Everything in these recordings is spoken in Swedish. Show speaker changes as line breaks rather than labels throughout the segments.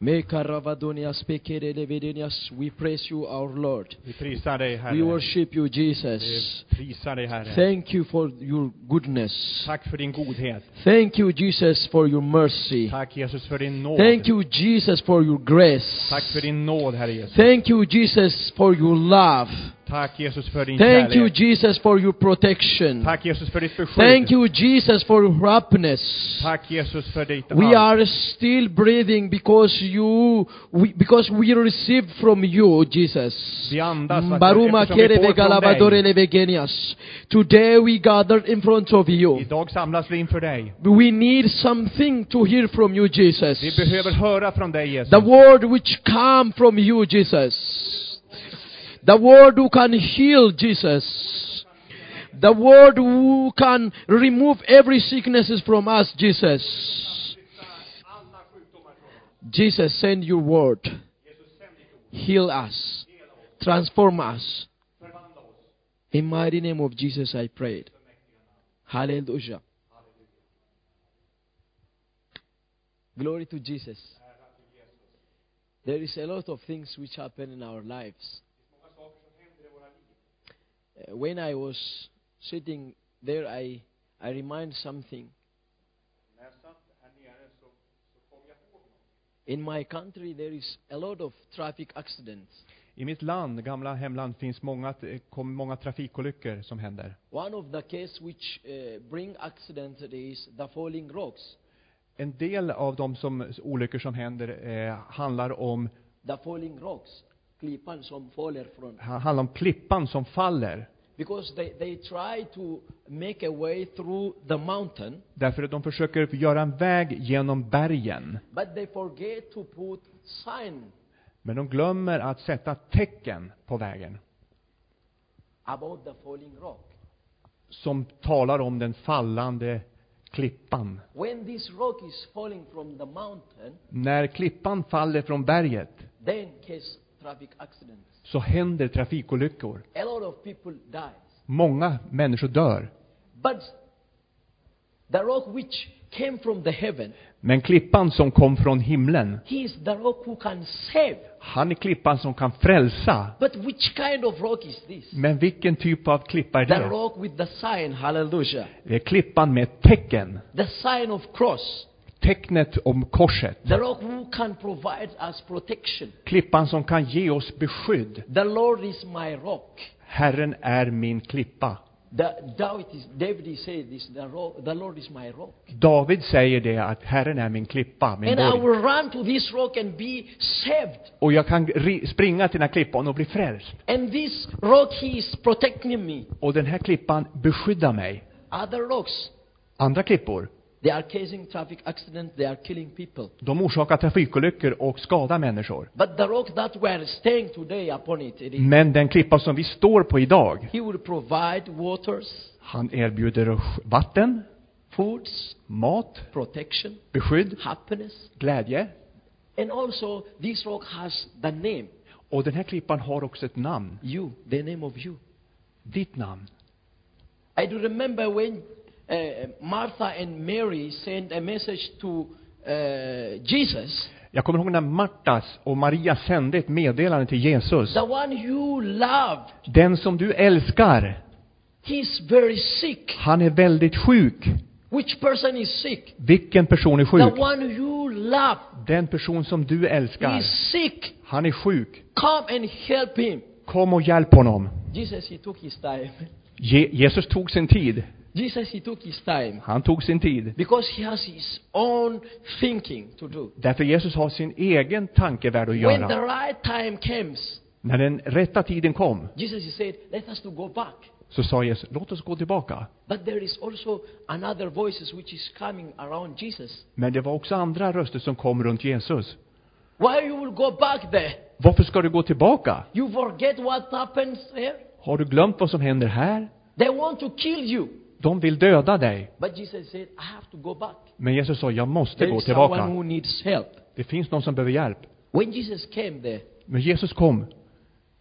Mekaravadonia spekeredevedenias. We praise you, our Lord.
Vi prisar dig, Herre.
We worship you,
Vi
Jesus.
prisar dig, Herre.
Thank you for your goodness.
Tack för din godhet.
Thank you, Jesus, for your mercy.
Tack Jesus för din nåd.
Thank you, Jesus, for your grace.
Tack för din nåd, Herre Jesus.
Thank you, Jesus, for your love.
Tack Jesus för din
Thank you,
kärlek.
Jesus, for your protection.
Tack Jesus för ditt beskydd.
Thank you, Jesus, for your happiness.
Tack Jesus för ditt
We
allt.
are still breathing because you, we, because we received from you, Jesus.
Vi andas, tack,
Baruma
eftersom vi
kere
får från
begalavadore
dig.
levegenias. Today we gathered in front of you.
Idag samlas vi inför dig.
We need something to hear from you, Jesus.
Vi behöver höra från dig Jesus.
The word which come from you, Jesus. The word who can heal, Jesus. The word who can remove every sicknesses from us, Jesus. Jesus, send your word. Heal us. Transform us. In mighty name of Jesus I prayed. Hallelujah. Glory to Jesus. There is a lot of things which happen in our lives. Uh, when I was sitting there, I, I remind something. In my country, there is a lot of traffic accidents.
I mitt land, gamla hemland, finns många, kom många trafikolyckor som händer.
One of the case which uh, bring accidents is the falling rocks.
En del av de som, olyckor som händer eh, handlar om,
The falling rocks, klippan som faller från.
ha- handlar om klippan som faller.
Because they, they try to make a way through the mountain,
Därför att de försöker göra en väg genom bergen.
but they forget to put sign
Men de glömmer att sätta tecken på vägen
about the falling rock.
som talar om den fallande klippan.
When this rock is falling from the mountain,
När klippan faller från berget
then case traffic accidents.
så händer trafikolyckor.
A lot of people dies.
Många människor dör.
But the rock which came from the heaven,
Men klippan som kom från himlen,
he is the rock who can save.
han är klippan som kan frälsa.
But which kind of rock is this?
Men vilken typ av klippa är
The
det?
rock with the sign, hallelujah.
Det är klippan med tecken.
The sign of cross.
Tecknet om korset.
The rock who can provide us protection.
Klippan som kan ge oss beskydd.
The Lord is my rock.
Herren är min klippa.
The David is, David said this, the, rock, the Lord is my rock.
David säger det att Herren är min klippa, min
And I
borg.
will run to this rock and be saved.
Och jag kan ri- springa till den här klippan och bli frälst.
And this rock, he is protecting me.
Och den här klippan beskyddar mig.
Other rocks,
Andra klippor,
they are causing traffic accidents, they are killing people.
de orsakar trafikolyckor och skadar människor.
But the rock that we are staying today upon it, it is,
Men den klippa som vi står på idag,
he will provide waters,
han erbjuder vatten,
foods,
mat,
protection,
beskydd,
happiness.
glädje.
And also, this rock has the name,
Och den här klippan har också ett namn.
you, the name of you.
Ditt namn.
I do remember when uh, Martha and Mary sent a message to uh, Jesus,
Jag kommer ihåg när Martas och Maria sände ett meddelande till Jesus.
the one you love,
Den som du älskar,
he's very sick.
han är väldigt sjuk.
Which person is sick?
Vilken person är
The
sjuk?
one you love
Den person som du älskar,
is sick.
han är sjuk.
Come and help him.
Kom och hjälp honom.
Jesus, he took his time.
Je- Jesus tog sin tid.
Jesus, he took his time.
Han tog sin tid.
Because he has his own thinking to do.
Därför Jesus har sin egen tankevärld att
When the
göra.
right time comes,
När den rätta tiden kom,
Jesus he said, let us to go back.
så sa Jesus, låt oss gå tillbaka.
But there is also another voices which is coming around Jesus.
Men det var också andra röster som kom runt Jesus.
Why you will go back there?
Varför ska du gå tillbaka?
You forget what happens here?
Har du glömt vad som händer här?
They want to kill you.
De vill döda dig.
But Jesus said, I have to go back.
Men Jesus sa, jag måste
There
gå
is someone
tillbaka.
who needs help.
Det finns någon som behöver hjälp.
When Jesus came there,
Men Jesus kom.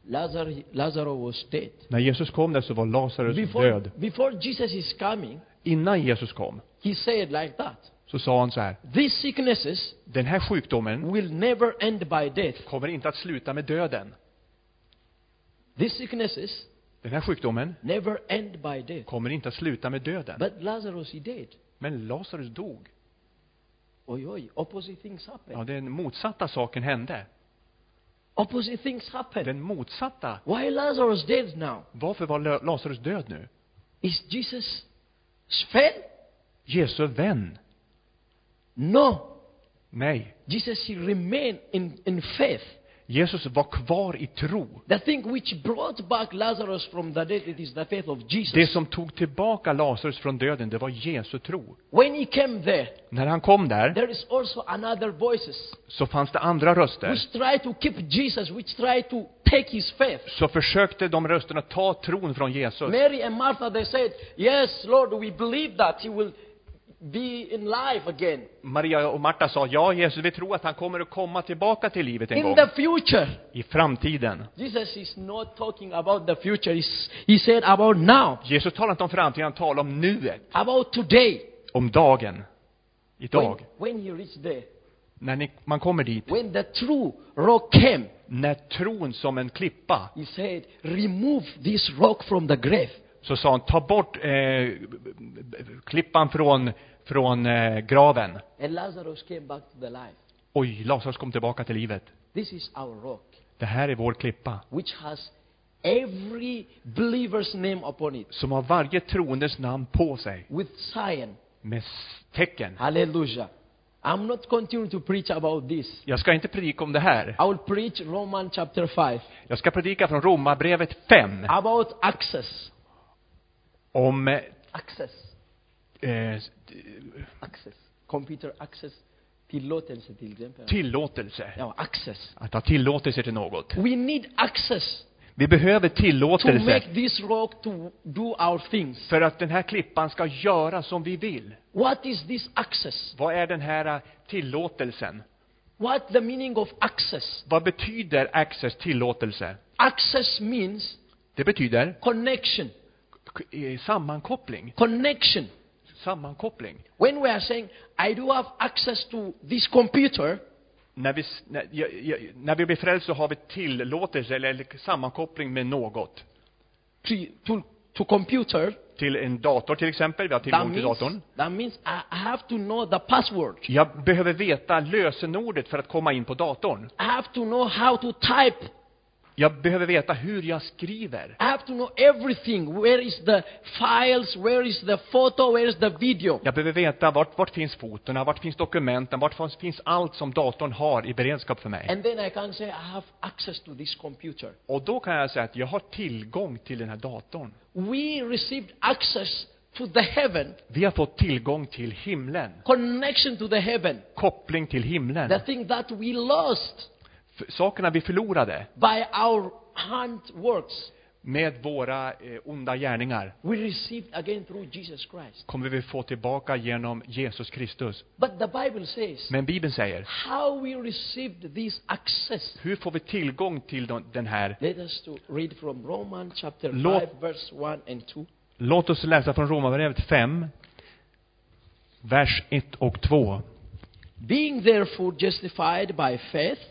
Lazarus, Lazarus was dead.
När Jesus kom där så var Lazarus
Before,
död.
before Jesus is coming,
Innan Jesus kom
he said like that.
så sa han så här,
These sicknesses
den här sjukdomen
will never end by death.
kommer inte att sluta med döden.
These sicknesses
Den här sjukdomen
never end by death.
kommer inte att sluta med döden.
But Lazarus, he did.
Men Lazarus dog.
Oj, oj, opposite things happen.
Ja, den motsatta saken hände.
Opposite things happen.
Den motsatta.
Why Lazarus dead now?
Varför var Lö- Lazarus död nu?
Is Jesus fell?
Jesu vän.
No.
Nej.
Jesus, he remained in, in faith.
Jesus var kvar i tro.
The thing which brought back Lazarus from the dead, it is the faith of
Det
Jesus.
som tog tillbaka Lazarus från döden, det var Jesu tro.
When he came there,
När han kom där,
there is also another voices
så fanns det andra röster.
which try to keep Jesus, which try to take his faith.
Så försökte de rösterna ta tron från Jesus.
Mary and Martha, they said, Yes, Lord, we believe that he will be in life again.
Maria och Marta sa, ja Jesus, vi tror att han kommer att komma tillbaka till livet en
In
gång.
the future.
I framtiden.
Jesus is not talking about the future. He's, he said about now,
Jesus talar inte om framtiden, han talar om nuet.
about today.
Om dagen.
When,
Idag.
when he reached there,
När ni, man kommer dit.
when the true rock came,
När tron som en klippa,
he said, Remove this rock from the grave.
så sa han, ta bort eh, klippan från, från eh, graven.
And Lazarus came back to the life.
Oj, Lazarus kom tillbaka till livet.
This is our rock,
Det här är vår klippa.
which has every believer's name upon it,
Som har varje troendes namn på sig.
with sign.
Med s- tecken.
Hallelujah. I'm not continuing to preach about this.
Jag ska inte predika om det här.
I will preach Romans chapter 5
Jag ska predika från Romarbrevet 5.
about access.
Om eh,
Access.
eh,
access. Computer access, tillåtelse till exempel.
tillåtelse.
Ja, access.
Att ha tillåtelse till något.
We need access
Vi behöver
to
tillåtelse
make this rock to do our things.
för att den här klippan ska göra som vi vill.
What is this access?
Vad är den här eh, tillåtelsen?
What the meaning of access?
Vad betyder access, tillåtelse?
Access means
Det betyder
connection.
k- eh, sammankoppling.
Connection.
Sammankoppling.
When we are saying, I do have access to this computer,
När vi, s- när, ja, ja, när vi blir frälsta så har vi tillåtelse eller, eller sammankoppling med något.
to, to, to computer,
Till en dator till exempel, vi har
that
tillgång till
means,
datorn.
that means I I have to know the password.
Jag behöver veta lösenordet för att komma in på datorn.
I have to know how to type
Jag behöver veta hur jag skriver.
I have to know everything. Where is the files? Where is the photo? Where is the video?
Jag behöver veta vart, vart finns fotona, vart finns dokumenten, vart fanns- finns allt som datorn har i beredskap för mig.
And then I can say, I have access to this computer.
Och då kan jag säga att jag har tillgång till den här datorn.
We received access to the heaven,
Vi har fått tillgång till himlen.
connection to the heaven,
Koppling till himlen.
the thing that we lost
F- Sakerna vi förlorade
by our hand works.
med våra eh, onda gärningar
We received again through Jesus Christ.
kommer vi få tillbaka genom Jesus Kristus.
But the Bible says,
Men Bibeln säger,
how we received this access.
hur får vi tillgång till de- den här
Let us to read from Romans chapter
Lord-
5, verse 1 and 2.
Låt oss läsa från Romarbrevet 5, vers 1 och 2.
Being therefore justified by faith,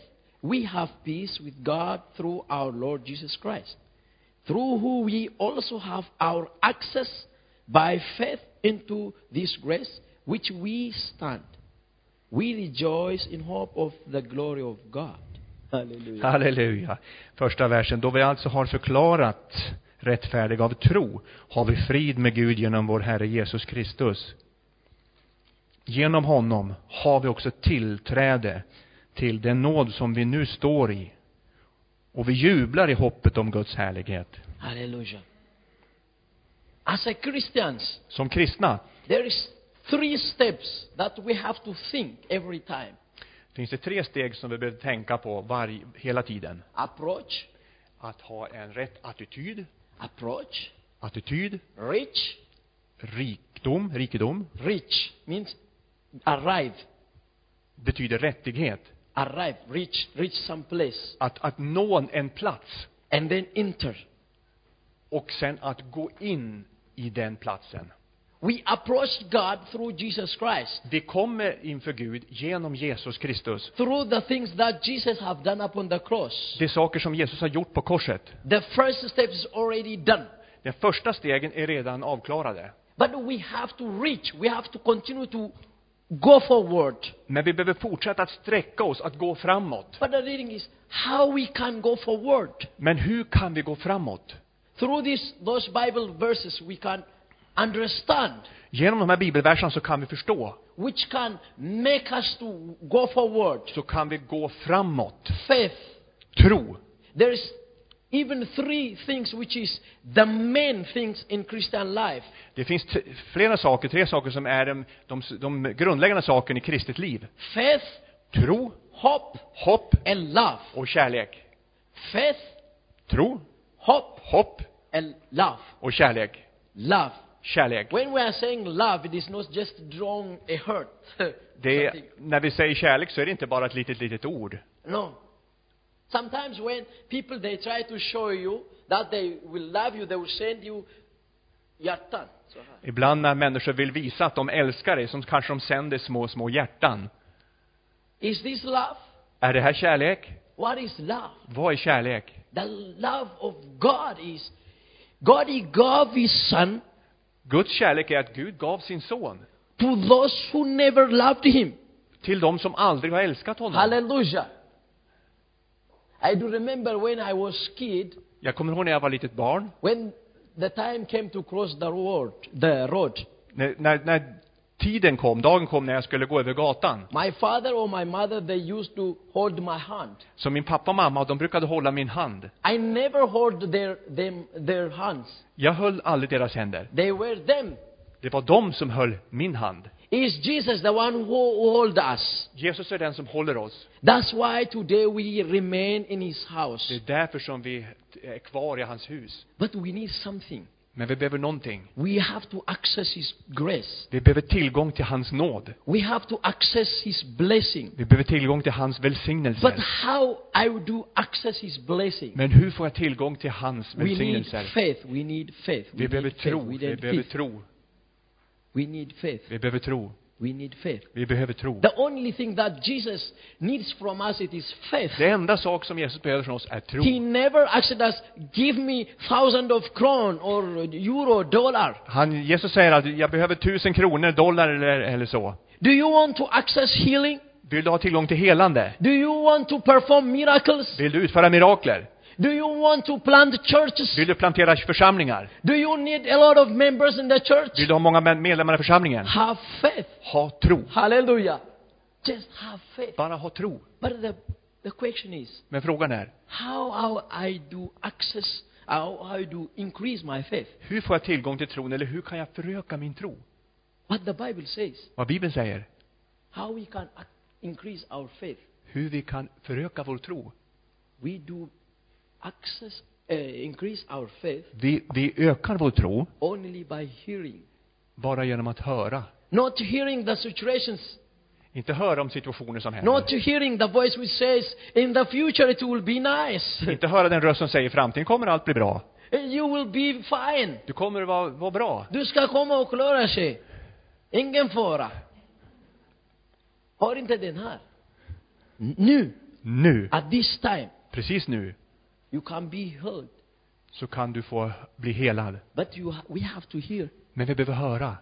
we have peace with God through our Lord Jesus Christ, through who we also have our access by faith into this grace which we stand. We rejoice in hope of the glory of God. Hallelujah.
Halleluja. Första versen. Då vi alltså har förklarat rättfärdiga av tro har vi frid med Gud genom vår Herre Jesus Kristus. Genom honom har vi också tillträde till den nåd som vi nu står i. Och vi jublar i hoppet om Guds härlighet.
Hallelujah. As a Christians,
Som kristna
there is three steps that we have to think every time.
finns det tre steg som vi behöver tänka på varje, hela tiden.
Approach,
Att ha en rätt attityd,
approach,
attityd,
reach,
rikdom, rikedom,
Reach means arrive,
betyder rättighet.
arrive, reach, reach some place,
Att, att nå en plats
and then enter.
och sen att gå in i den platsen.
We approached God through Jesus Christ,
Vi kommer inför Gud genom Jesus Kristus.
through the things that Jesus have done upon the cross.
Det är saker som Jesus har gjort på korset.
The first step is already done.
Den första stegen är redan avklarade.
But we have to reach, we have to continue to go forward.
Men vi behöver fortsätta att sträcka oss, att gå framåt.
But the reading is how we can go forward.
Men hur kan vi gå framåt?
Through this, those Bible verses, we can understand,
Genom de här bibelverserna så kan vi förstå.
which can make us to go forward.
Så kan vi gå framåt.
Faith.
Tro.
There is even three things which is the main things in Christian life.
Det finns t- flera saker, tre saker som är de, de, de grundläggande sakerna i kristet liv.
Faith,
Tro,
hope,
hopp
and love.
och kärlek.
Faith,
Tro,
hope,
hopp
and love.
och kärlek.
Love.
Kärlek.
When we are saying love, it is not just drawing a hurt.
Det är,
something.
när vi säger kärlek så är det inte bara ett litet, litet ord.
No. Sometimes when people they try to show you that they will love you, they will send you yatan. So, huh.
Ibland när människor vill visa att de älskar dig, som kanske de sänder små, små hjärtan.
Is this love?
Är det här kärlek?
What is love?
Vad är kärlek?
The love of God is God he gave his son
Guds kärlek är att Gud gav sin son
to those who never loved him.
till de som aldrig har älskat honom.
Hallelujah. I do remember when I was kid,
Jag kommer ihåg när jag var litet barn,
when the time came to cross the road, the road,
när, när, när tiden kom, dagen kom när jag skulle gå över gatan.
my father or my mother they used to hold my hand.
Så min pappa och mamma, de brukade hålla min hand.
I never hold their them their hands.
Jag höll aldrig deras händer.
They were them.
Det var de som höll min hand.
Is Jesus the one who hold us?
Jesus är den som håller oss.
That's why today we remain in His house.
Det är därför som vi är kvar i hans hus.
But we need something.
Men vi behöver någonting.
We have to access His grace.
Vi behöver tillgång till hans nåd.
We have to access His blessing.
Vi behöver tillgång till hans
But
välsignelser.
how I do access His blessing?
Men hur får jag tillgång till hans
We need
välsignelser?
faith. We need faith. We
Vi behöver
need faith.
tro,
We
vi
need
behöver
faith.
tro,
We need faith.
vi behöver tro,
We need faith.
vi behöver tro.
The only thing that Jesus needs from us it is faith.
Det enda sak som Jesus behöver från oss är tro.
He never asked us, give me thousand of crown or euro, dollar.
Han, Jesus säger att jag behöver tusen kronor, dollar eller, eller så.
Do you want to access healing?
Vill du ha tillgång till helande?
Do you want to perform miracles?
Vill du utföra mirakler?
Do you want to plant churches?
Vill du plantera församlingar?
Do you need a lot of members in the church?
Vill du ha många med- medlemmar i församlingen?
Have faith.
Ha tro.
Hallelujah. Just have faith.
Bara ha tro.
But the, the question is,
Men frågan är,
how, how I do access, how I do increase my faith?
hur får jag tillgång till tron eller hur kan jag föröka min tro?
What the Bible says,
Vad Bibeln säger,
how we can ac- increase our faith.
hur vi kan föröka vår tro.
we do access, uh, increase our faith
Vi, vi ökar vår tro
only by hearing.
bara genom att höra.
Not hearing the situations,
Inte höra om situationer som händer.
not hearing the voice which says, in the future it will be nice,
Inte höra den röst som säger i framtiden kommer allt bli bra.
you will be fine,
Du kommer att vara, vara bra.
du ska komma och klara sig, ingen fara. Hör inte den här. Nu,
Nu,
at this time,
precis nu,
you can be heard,
så kan du få bli helad.
but you, ha- we have to hear.
Men vi behöver höra.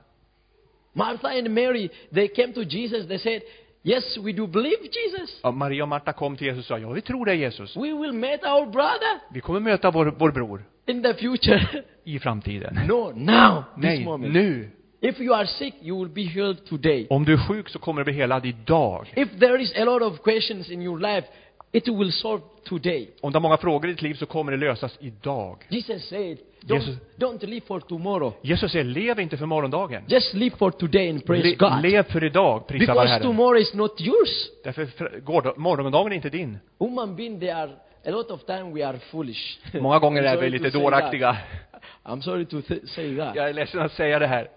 Martha and Mary, they came to Jesus, they said, yes, we do believe Jesus.
Ja, Maria och Marta kom till Jesus och sa, ja vi tror dig Jesus.
We will meet our brother
Vi kommer möta vår, vår bror
in the future.
i framtiden.
no, now, this
Nej,
moment.
nu.
If you are sick, you will be healed today.
Om du är sjuk så kommer du bli helad idag.
If there is a lot of questions in your life, it will solve today.
Om du har många frågor i ditt liv så kommer det lösas idag.
Jesus said, don't,
Jesus-
don't live for tomorrow.
Jesus säger, lev inte för morgondagen.
Just live for today and praise
Le,
God.
lev för idag, prisa vare
Because
Herren.
tomorrow is not yours.
Därför för, går, morgondagen är inte din.
Human being, they are, a lot of time we are foolish.
Många gånger
I'm
är vi
sorry
lite
to say
dåraktiga.
that. I'm sorry to th- say that.
Jag är ledsen att säga det här.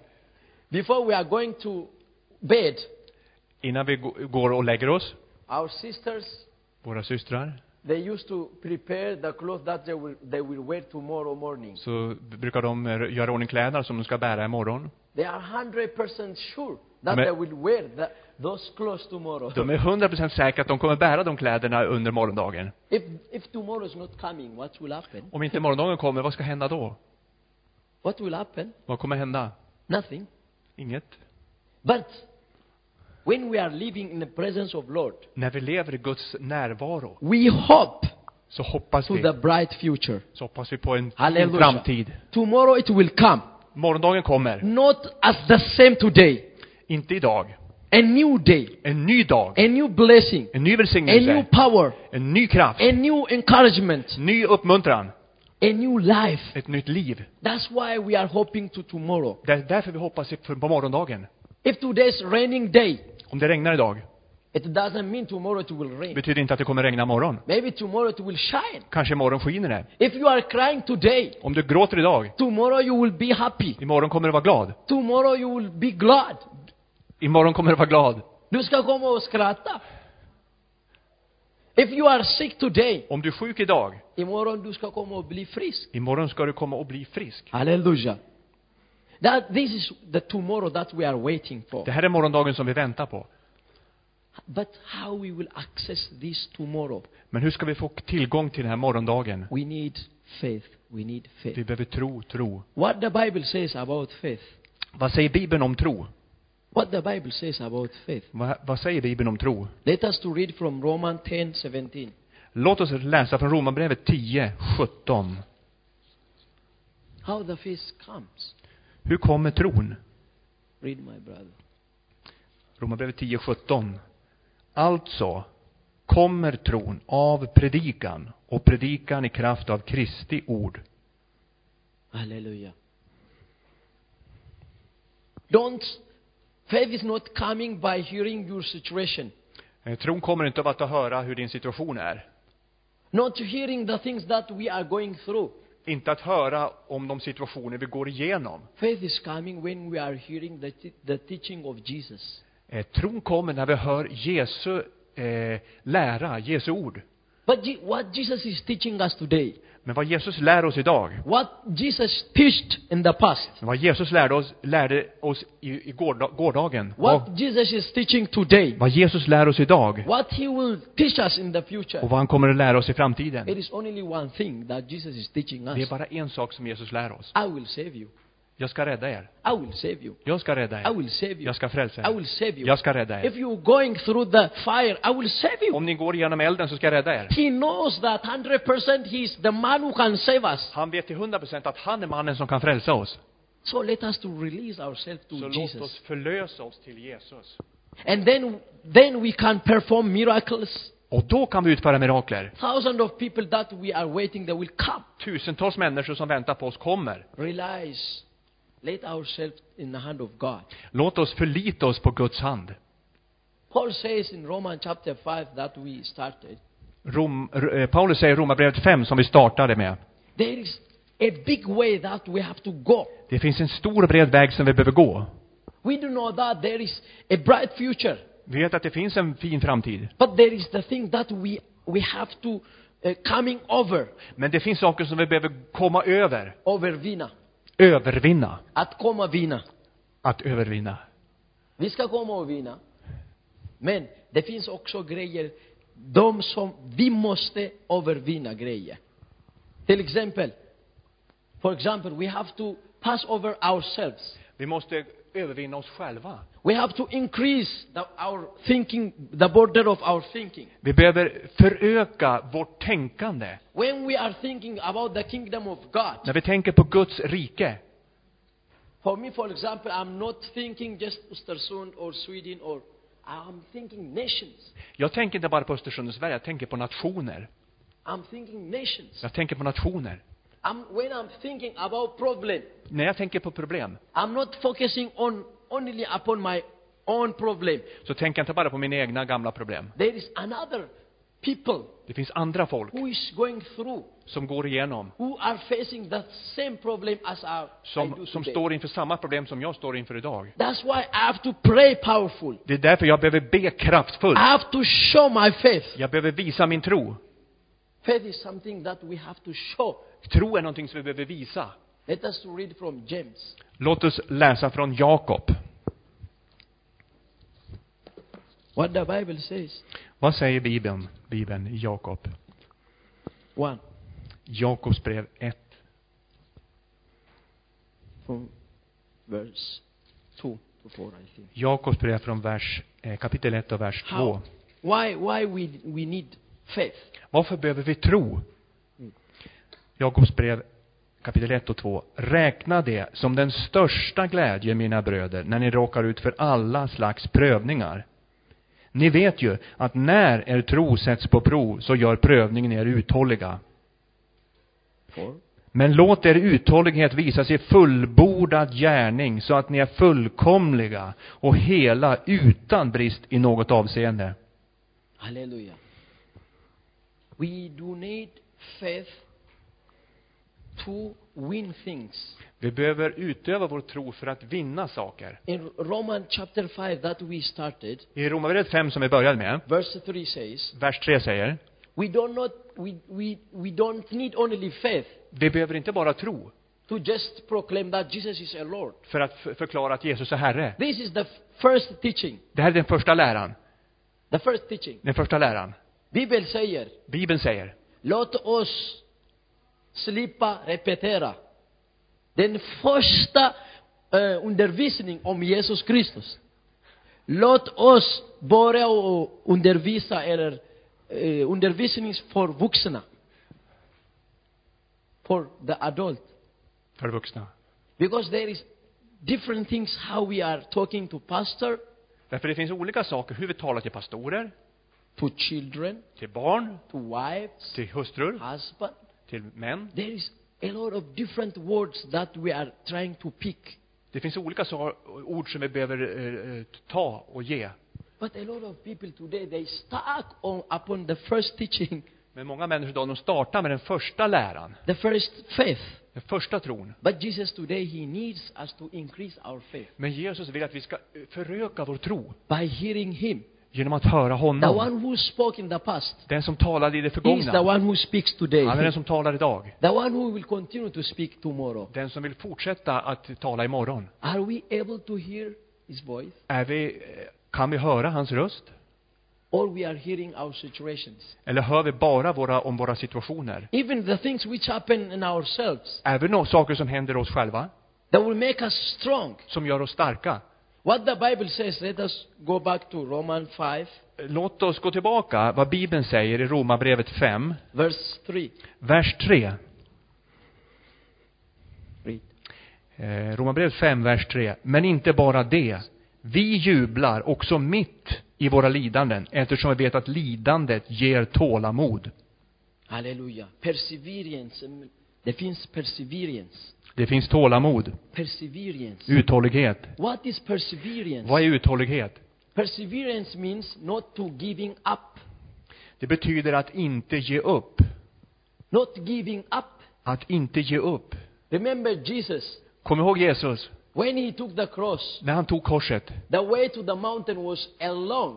Before we are going to bed,
Innan vi gå- går och lägger oss,
our sisters,
våra systrar,
They used to prepare the clothes that they will, they will wear tomorrow morning.
så brukar de eh, göra i ordning kläderna som de ska bära imorgon.
They are 100% sure that
Me-
they will wear the, those clothes tomorrow.
De är 100% säkra att de kommer bära de kläderna under morgondagen.
If, if tomorrow is not coming, what will happen?
Om inte morgondagen kommer, vad ska hända då?
What will happen?
Vad kommer hända?
Nothing.
Inget.
But when we are living in the presence of Lord,
När vi lever i Guds närvaro
we hope
så hoppas
to the
vi,
bright future.
så hoppas vi på en fin
Hallelujah.
framtid.
Tomorrow it will come,
Morgondagen kommer.
not as the same today.
Inte idag.
A new day,
En ny dag.
a new blessing,
En ny
a new
välsignelse.
power,
En ny kraft.
a new encouragement,
Ny uppmuntran.
a new life.
Ett nytt liv.
That's why we are hoping to tomorrow.
Det är därför vi hoppas på morgondagen.
If today is raining day,
Om det regnar idag,
it doesn't mean tomorrow it will rain.
betyder inte att det kommer regna imorgon.
Maybe tomorrow it will shine.
Kanske imorgon skiner det.
If you are crying today,
Om du gråter idag,
tomorrow you will be happy.
imorgon kommer du vara glad.
Tomorrow you will be glad.
Imorgon kommer du vara glad.
Du ska komma och skratta. If you are sick today,
Om du är sjuk idag,
imorgon du ska komma och bli frisk.
imorgon ska du komma och bli frisk.
Halleluja. That, this is the tomorrow that we are waiting for.
Det här är morgondagen som vi väntar på.
But how we will access this tomorrow?
Men hur ska vi få tillgång till den här morgondagen?
We need faith. We need
Vi
faith.
behöver tro, tro.
What the Bible says about faith.
Vad säger Bibeln om tro?
What the Bible says about faith.
Va, vad säger Bibeln om tro?
Let us to read from Romans 10, 17.
Låt oss läsa från Romarbrevet 10, 17.
How the faith comes.
Hur kommer tron?
Read my brother.
Romarbrevet 10, 17. Alltså kommer tron av predikan och predikan i kraft av Kristi ord.
Hallelujah. Don't, faith is not coming by hearing your situation,
Eh, Tron kommer inte av att höra hur din situation är.
not hearing the things that we are going through.
Inte att höra om de situationer vi går igenom.
Faith is coming when we are hearing the, t- the teaching of Jesus.
Eh, Tron kommer när vi hör Jesu eh, lära, Jesu ord.
But Je- what Jesus is teaching us today,
Men vad Jesus lär oss idag,
what Jesus taught in the past,
men vad Jesus lärde oss, lärde oss i, i gårda, gårdagen,
what
vad,
Jesus is teaching today,
vad Jesus lär oss idag
what he will teach us in the future,
och vad han kommer att lära oss i framtiden.
it is only one thing that Jesus is teaching us.
Det är bara en sak som Jesus lär oss.
I will save you.
Jag ska rädda er.
I will save you.
Jag ska rädda
I
er.
will save you.
Jag ska frälsa
I
er.
will save you.
Jag ska rädda
If
er.
you're going through the fire, I will save you.
Om ni går igenom elden så ska jag rädda er.
He knows that 100% He is the man who can save us.
Han vet till 100% att han är mannen som kan frälsa oss.
So let us to release ourselves to
Så låt
Jesus.
oss förlösa oss till Jesus.
And then, then we can perform miracles.
Och då kan vi utföra mirakler.
Thousands of people that we are waiting, they will come.
Tusentals människor som väntar på oss kommer.
Realize, let ourselves in the hand of God.
Låt oss förlita oss på Guds hand.
Paul says in Romans chapter 5 that we started,
Rom, r- eh, Paulus säger i Romarbrevet 5 som vi startade med.
there is a big way that we have to go.
Det finns en stor och bred väg som vi behöver gå.
We do know that there is a bright future.
Vi vet att det finns en fin framtid.
But there is the thing that we, we have to uh, coming over,
Men det finns saker som vi behöver komma över.
overvinna,
Övervinna.
att komma vinna.
Att övervinna.
Vi ska komma och vinna. Men det finns också grejer, de som vi måste övervinna grejer. Till exempel, for example, we have to pass over ourselves.
Vi måste övervinna oss själva.
We have to increase the, our thinking, the border of our thinking.
Vi behöver föröka vårt tänkande.
When we are thinking about the kingdom of God,
När vi tänker på Guds rike.
For me, for example, I'm not thinking just Östersund or Sweden or I'm thinking nations.
Jag tänker inte bara på Östersund och Sverige, jag tänker på nationer.
I'm thinking nations.
Jag tänker på nationer.
I'm, when I'm thinking about problem,
När jag tänker på problem,
I'm not focusing on only upon my own problem.
så tänker jag inte bara på mina egna gamla problem.
There is another people
Det finns andra folk
who is going through,
som går igenom,
who are facing the same problem as I, I do
som, som
today.
står inför samma problem som jag står inför idag.
That's why I have to pray powerful. Ah.
Det är därför jag behöver be kraftfullt.
I have to show my faith.
Jag behöver visa min tro.
Faith is something that we have to show.
Tro är någonting som vi behöver visa.
Let us read from James.
Låt oss läsa från Jakob.
What the Bible says.
Vad säger Bibeln, Bibeln i Jakob?
One.
Jakobs brev 1,
From verse 2 to 4, I think.
Jakobs brev från vers, eh, kapitel 1 och vers 2.
How? Why, why we, we need faith?
Varför behöver vi tro? Jakobs brev kapitel 1 och 2. Räkna det som den största glädje, mina bröder, när ni råkar ut för alla slags prövningar. Ni vet ju att när er tro sätts på prov så gör prövningen er uthålliga.
Four.
Men låt er uthållighet visas i fullbordad gärning så att ni är fullkomliga och hela utan brist i något avseende.
Hallelujah. We do need faith to win things.
Vi behöver utöva vår tro för att vinna saker.
In Romans chapter 5 that we started,
I Romarbrevet 5 som vi började med,
verse 3 says,
vers 3 säger,
we don't, not, we, we, we don't need only faith
vi behöver inte bara tro
to just proclaim that Jesus is a Lord.
för att f- förklara att Jesus är Herre.
This is the first teaching.
Det här är den första läran.
The first teaching.
Den första läran.
Bibeln säger,
Bibeln säger,
låt oss slippa repetera den första eh, undervisningen om Jesus Kristus. Låt oss börja och undervisa eller eh, undervisning för vuxna. For the adult.
för vuxna.
Because there is different things how we are talking to pastor,
Därför det finns olika saker, hur vi talar till pastorer,
to children,
till barn,
to wives,
till hustrur,
husband.
till män.
There is a lot of different words that we are trying to pick,
Det finns olika sa- ord som vi behöver eh, eh, ta och ge.
but a lot of people today they stuck on upon the first teaching,
Men många människor idag, de startar med den första läran,
the first faith.
den första tron.
But Jesus today he needs us to increase our faith
Men Jesus vill att vi ska eh, föröka vår tro
by hearing him.
genom att höra
The
honom.
one who spoke in the past,
Den som talade i det
he is the
förgångna.
one who speaks today.
Han är den som talar idag.
The one who will continue to speak tomorrow.
Den som vill fortsätta att tala imorgon.
Are we able to hear his voice?
Är vi, eh, kan vi höra hans röst?
Or we are hearing our situations.
Eller hör vi bara våra, om våra situationer?
Even the things which happen in ourselves
Även om saker som händer oss själva,
that will make us strong.
som gör oss starka.
What the Bible says, let us go back to Romans 5,
Låt oss gå tillbaka vad Bibeln säger i Romarbrevet 5,
verse 3.
vers 3.
Read.
Eh, Romarbrevet 5, vers 3. Men inte bara det. Vi jublar också mitt i våra lidanden, eftersom vi vet att lidandet ger tålamod.
Hallelujah. Perseverance. mm, Det finns perseverance.
Det finns tålamod,
Perseverance.
uthållighet.
What is perseverance?
Vad är uthållighet?
Perseverance means not to giving up.
Det betyder att inte ge upp.
Not giving up.
Att inte ge upp.
Remember Jesus,
Kom ihåg Jesus,
when he took the cross,
när han tog korset.
the way to the mountain was long.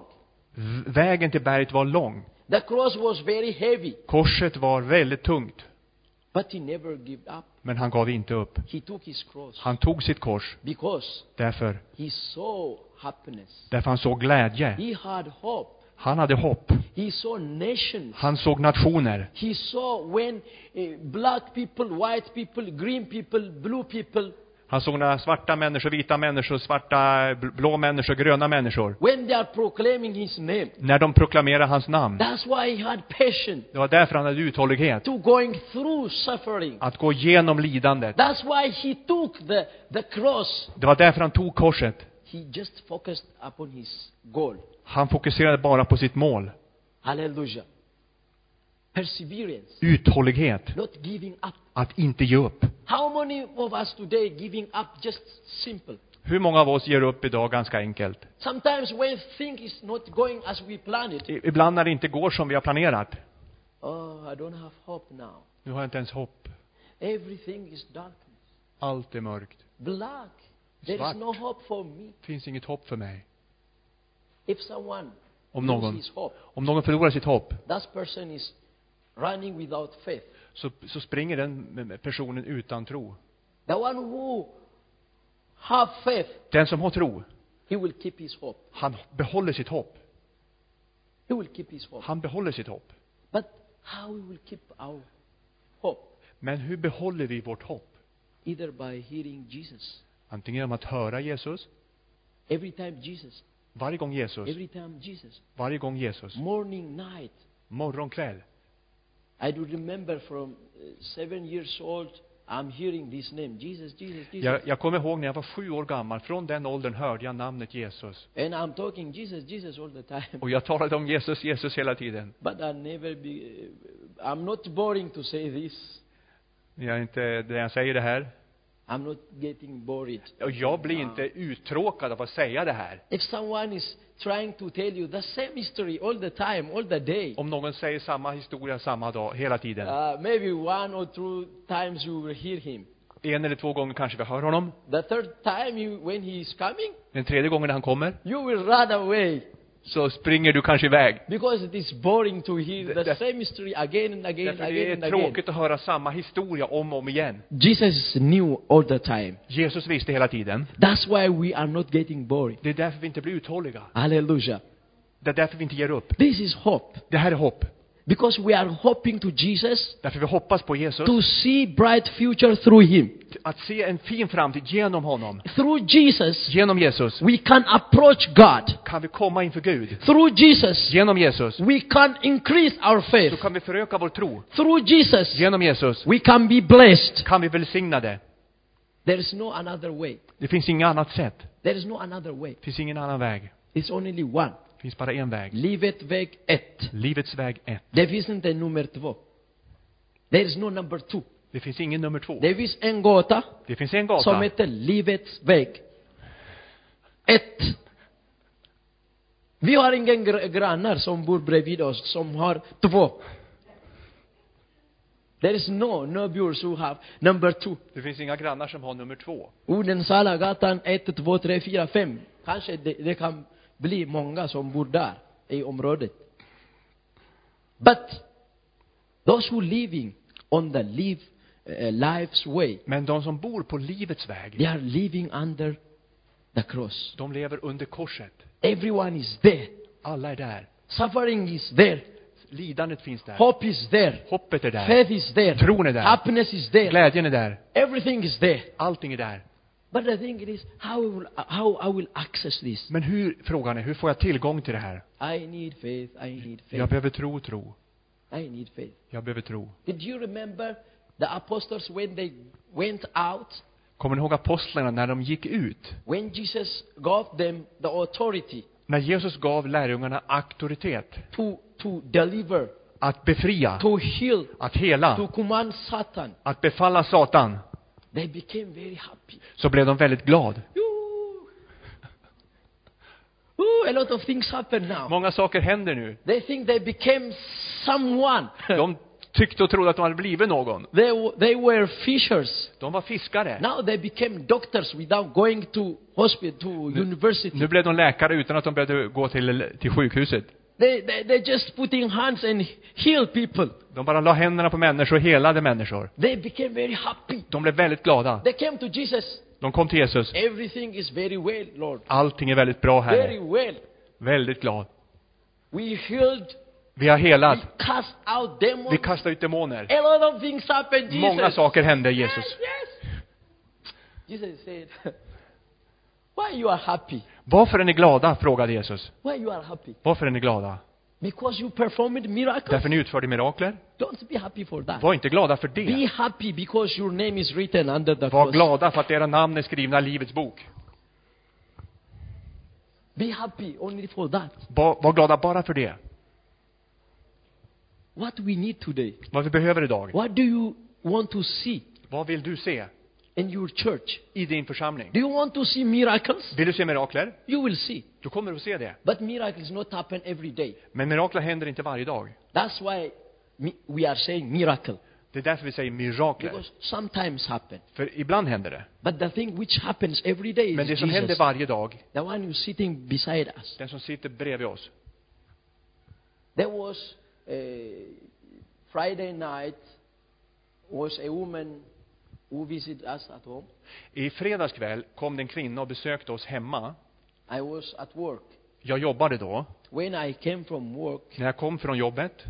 V- Vägen till berget var lång.
The cross was very heavy,
Korset var väldigt tungt.
but he never gave up.
Men han gav inte upp.
He took his cross
Han tog sitt kors
because
därför,
he saw happiness.
därför han såg glädje.
He had hope.
Han hade hopp.
He saw nations.
Han såg nationer.
He saw when eh, black people, white people, green people, blue people,
Han såg när svarta människor, vita människor, svarta, bl- blå människor, gröna människor.
when they are proclaiming his name.
När de proklamerade hans namn.
That's why he had patience
Det var därför han hade uthållighet.
to going through suffering.
Att gå igenom lidandet.
That's why he took the, the cross.
Det var därför han tog korset.
He just focused upon his goal.
Han fokuserade bara på sitt mål.
Hallelujah. Perseverance,
Uthållighet.
not giving up.
Att inte ge upp.
How many of us today giving up just simple?
Hur många av oss ger upp idag ganska enkelt?
Sometimes when things is not going as we planned it,
I- Ibland när det inte går som vi har planerat.
oh, I don't have hope now.
Nu har jag inte ens hopp.
Everything is darkness,
Allt är mörkt.
black. There is
Svart.
no hope for me.
Det finns inget hopp för mig.
If someone
Om någon,
loses hope,
om någon förlorar sitt hopp,
that person is running without faith.
så, så springer den personen utan tro.
The one who have faith,
Den som har tro,
he will keep his hope.
han behåller sitt hopp.
He will keep his hope.
Han behåller sitt hopp.
But how we will keep our hope?
Men hur behåller vi vårt hopp?
Either by hearing Jesus.
Antingen genom att höra Jesus,
Every time Jesus.
varje gång Jesus,
Every time Jesus.
varje gång Jesus,
Morning, night.
morgon, kväll.
I do remember from uh, seven years old, I'm hearing this name, Jesus, Jesus, Jesus.
Jag, jag kommer ihåg när jag var sju år gammal, från den åldern hörde jag namnet Jesus.
And I'm talking Jesus, Jesus all the time.
Och jag talade om Jesus, Jesus hela tiden.
But I never be, uh, I'm not boring to say this.
När jag, inte, när jag säger det här,
I'm not getting bored.
och jag blir inte uttråkad av att säga det här.
If someone is trying to tell you the same history all the time, all the day,
Om någon säger samma historia samma dag, hela tiden.
uh, maybe one or two times you will hear him.
En eller två gånger kanske vi hör honom.
The third time, you, when he is coming,
Den tredje gången han kommer,
you will run away
så springer du kanske iväg.
because it is boring to hear
Th-
the
that-
same history again and again and
Därför det
again and
är
again.
tråkigt att höra samma historia om och om igen.
Jesus knew all the time.
Jesus visste hela tiden.
That's why we are not getting boring.
Det är därför vi inte blir uthålliga.
Hallelujah.
Det är därför vi inte ger upp.
This is hope
Det här är hopp.
because we are hoping to Jesus
Därför vi hoppas på Jesus.
to see bright future through him.
Att se en fin framtid genom honom.
Through Jesus,
Genom Jesus
we can approach God.
kan vi komma inför Gud.
Through Jesus,
Genom Jesus
we can increase our faith.
så kan vi föröka vår tro.
Through Jesus,
Genom Jesus
we can be blessed.
kan vi välsigna det.
There is no another way.
Det finns inget annat sätt.
There is no another way.
Det finns ingen annan väg.
It's only one.
Det finns bara en väg.
Livet väg ett.
Livets väg ett.
Det finns inte nummer två. There is no number two.
Det finns ingen nummer två.
Det finns en gata
Det finns en
som
gata.
heter Livets väg. Ett. Vi har ingen gr- grannar som bor bredvid oss som har två. There is no neighbors who have number two.
Det finns inga grannar som har nummer två.
Odensala gatan e 1, 2, 3, 4, 5. Kanske det, det kan bli många som bor där i området. But those who living on the live, eh, life's way,
Men de som bor på livets
they
väg,
are living under the cross.
de lever under korset.
Everyone is there.
Alla är där.
Suffering is there.
Lidandet finns där.
Hope is there.
Hoppet är där.
Faith is there.
Tron är där.
Happiness is there.
Glädjen är där.
Everything is there.
Allting är där.
But the thing is, how I will, how I will access this?
Men hur, frågan är, hur får jag tillgång till det här?
I need faith. I need
Jag
faith.
behöver tro, tro.
I need faith.
Jag behöver tro.
Did you remember the apostles when they went out?
Kommer ni ihåg apostlarna när de gick ut?
When Jesus gave them the authority
När Jesus gav lärjungarna auktoritet.
to, to deliver,
Att befria.
to heal,
Att hela.
to command Satan,
Att befalla Satan.
they became very happy.
Så blev de väldigt glad.
Ooh. Ooh, a lot of things happen now.
Många saker händer nu.
They think they became someone.
De tyckte och trodde att de hade blivit någon.
They, w- they were fishers.
De var fiskare.
Now they became doctors without going to hospital, to university.
Nu blev de läkare utan att de behövde gå till, till sjukhuset.
They, they, they just putting hands and heal people.
De bara la händerna på människor och helade människor.
They became very happy.
De blev väldigt glada.
They came to Jesus.
De kom till Jesus.
Everything is very well, Lord.
Allting är väldigt bra
Very
här.
well.
Väldigt glad.
We healed,
Vi har
we
helat.
cast out demons.
Vi kastar ut demoner.
A lot of things happened, Jesus.
Många saker hände
Yes,
Jesus.
yes. Jesus said, Why you are happy?
Varför är ni glada? frågade Jesus.
Why you are happy?
Varför är ni glada?
Because you performed miracles.
Därför ni utförde mirakler?
Don't be happy for that.
Var inte glada för
Be
det.
happy because your name is written under the
Var
cross.
glada för att era namn är skrivna i Livets bok.
Be happy only for that.
Var, var glada bara för det.
What we need today.
Vad vi behöver idag.
What do you want to see
Vad vill du se
in your church?
i din församling?
Do you want to see miracles?
Vill du se mirakler?
You will see.
Då kommer du att se det.
But miracles not happen every day.
Men mirakler händer inte varje dag.
That's why mi- we are saying miracle.
Det är därför vi säger mirakler.
Because sometimes happen.
För ibland händer det.
But the thing which happens every day
Men det
is
som händer
Jesus.
varje dag,
The one who's sitting beside us.
den som sitter bredvid oss.
There was uh, Friday night was a woman who visited us at home.
I fredags kväll kom det en kvinna och besökte oss hemma.
I was at work.
Jag jobbade då.
When I came from work,
När jag kom från jobbet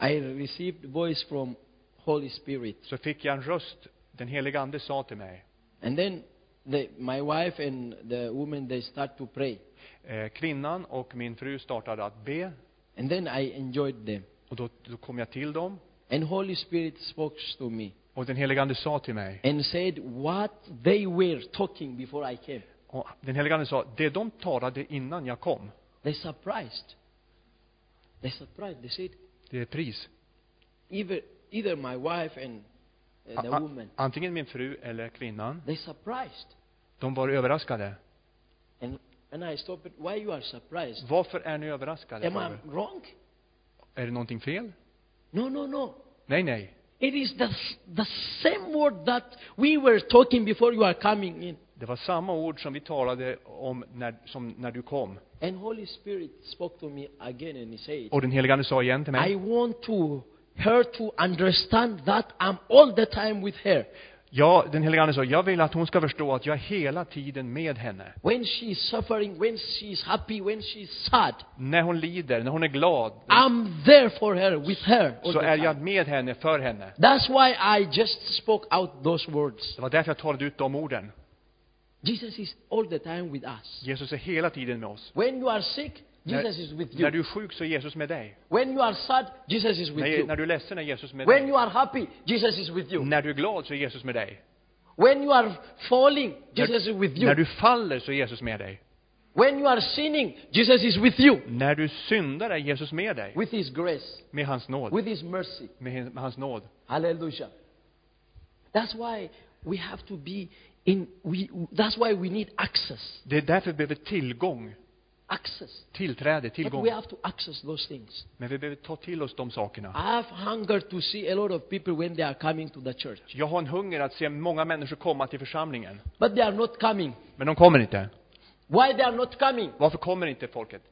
I received voice from Holy Spirit.
så fick jag en röst. Den heliga ande sa till mig.
And then the, my wife and the woman, they start to pray.
Eh, kvinnan och min fru startade att be.
And then I enjoyed them.
Och då, då kom jag till dem.
And Holy Spirit spoke to me
Och den heliga ande sa till mig.
and said what they were talking before I came.
Och den heliga ande sa, det de talade innan jag kom,
They surprised. They surprised. They said,
det är pris.
either, either my wife and uh, the
A- a-
woman,
Antingen min fru eller kvinnan.
they surprised.
De var överraskade.
And, and I stopped, why you are surprised?
Varför är ni överraskade?
Am I
Robert?
wrong?
Är det någonting fel?
No, no, no.
Nej, nej.
It is the, s- the same word that we were talking before you are coming in.
Det var samma ord som vi talade om när, som när du kom.
And Holy Spirit spoke to me again and He said,
Och den helige Ande sa igen till
I
mig.
want to her to understand that I'm all the time with her.
Ja, den helige Ande sa, jag vill att hon ska förstå att jag är hela tiden med henne.
When she's suffering, when she's happy, when she's sad,
När hon lider, när hon är glad,
Ah, I'm there for her, with her. all
så
the
är
time.
jag med henne, för henne.
That's why I just spoke out those words.
Det var därför jag talade ut de orden.
Jesus is all the time with us.
Jesus är hela tiden med oss.
When you are sick,
När,
Jesus is with
när du
you.
är sjuk så är Jesus med dig.
When you are sad, Jesus is with
När,
you.
när du är ledsen är Jesus med
When
dig.
you are happy, Jesus is with you.
När du är glad så är Jesus med dig.
When you are falling, Jesus is with
När,
you.
när du faller så är Jesus med dig.
When you are sinning, Jesus is with you.
När du syndar är Jesus med dig.
With His grace,
Med hans nåd.
with His mercy.
Med, hin- med hans nåd.
Hallelujah. That's why we have to be in, we, that's why we need access.
Det är därför vi behöver tillgång.
Access.
Tillträde,
But
tillgång.
we have to access those things.
Men vi behöver ta till oss de sakerna.
I have hunger to see a lot of people when they are coming to the church.
Jag har en hunger att se många människor komma till församlingen.
But they are not coming.
Men de kommer inte.
Why they are not coming?
Varför kommer inte folket?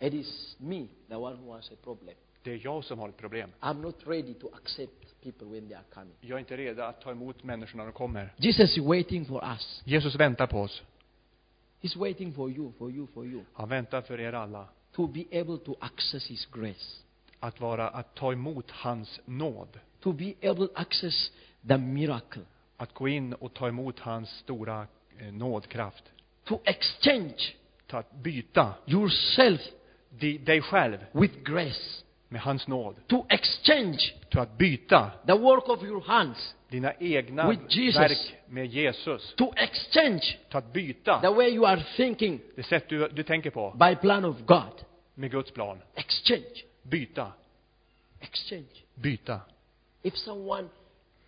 It is me, the one who has a problem.
Det är jag som har ett problem.
I'm not ready to accept people when they are coming.
Jag är inte redo att ta emot människor när de kommer.
Jesus is waiting for us.
Jesus väntar på oss.
He's waiting for you, for you, for you.
Han väntar för er alla.
To be able to access His grace.
Att vara, att ta emot hans nåd.
To be able to access the miracle.
Att gå in och ta emot hans stora eh, nådkraft.
To exchange
Ta, att byta
yourself
di- dig själv
with grace.
med hans nåd.
To exchange
Ta att byta
the work of your hands.
dina egna
With Jesus.
verk med Jesus.
To exchange
Ta att byta
the way you are thinking
det sätt du, du tänker på
by plan of God.
med Guds plan.
Exchange.
Byta,
Exchange.
byta.
If someone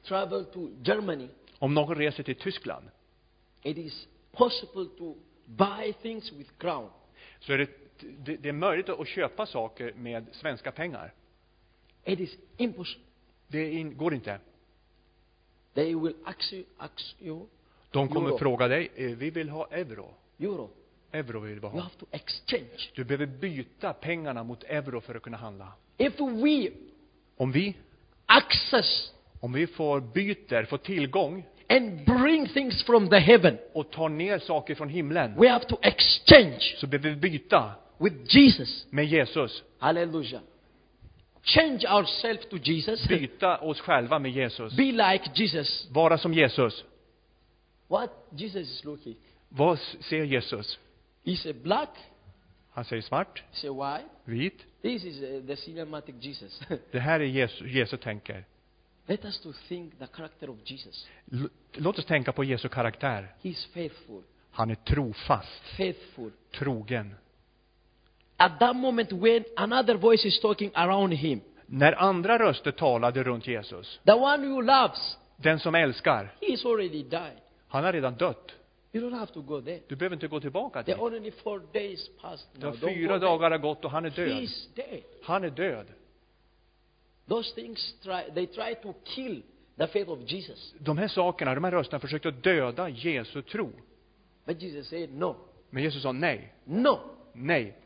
travel to Germany,
Om någon reser till Tyskland
it is possible to buy things with crown.
så är det, det, det är möjligt att köpa saker med svenska pengar.
It is impossible.
Det är in, går inte.
They will ask you, ask you
De kommer
Euro.
fråga dig, eh, vi vill ha euro.
euro.
Euro vill vi
You
ha.
have to exchange.
Du behöver byta pengarna mot euro för att kunna handla.
If we
Om vi,
access
om vi får byter, får tillgång
and bring things from the heaven,
och tar ner saker från himlen
we have to exchange
så behöver vi byta
with Jesus.
med Jesus.
Hallelujah. Change ourselves to Jesus.
Byta oss själva med Jesus.
Be like Jesus.
Vara som Jesus.
What Jesus is looking.
Vad s- ser Jesus?
He's a black,
Han säger svart,
he's a white.
vit.
This is uh, the cinematic Jesus.
Det här är Jesus, Jesus tänker.
Let us to think the character of Jesus.
L- Låt oss tänka på Jesu karaktär.
He's faithful,
Han är trofast,
faithful.
trogen.
At that moment when another voice is talking around him,
När andra röster talade runt Jesus,
the one who loves,
den som älskar,
he's already died.
han har redan dött.
You don't have to go there.
Du behöver inte gå tillbaka
There
dit.
are only four days past
Det
now.
har
Don't
fyra
go
dagar har gått och han är
there.
död.
He's dead.
Han är död.
Those things try, they try to kill the faith of Jesus.
De här sakerna, de här rösterna försökte döda Jesu tro.
But Jesus said, No,
Men Jesus sa nej,
no,
nej,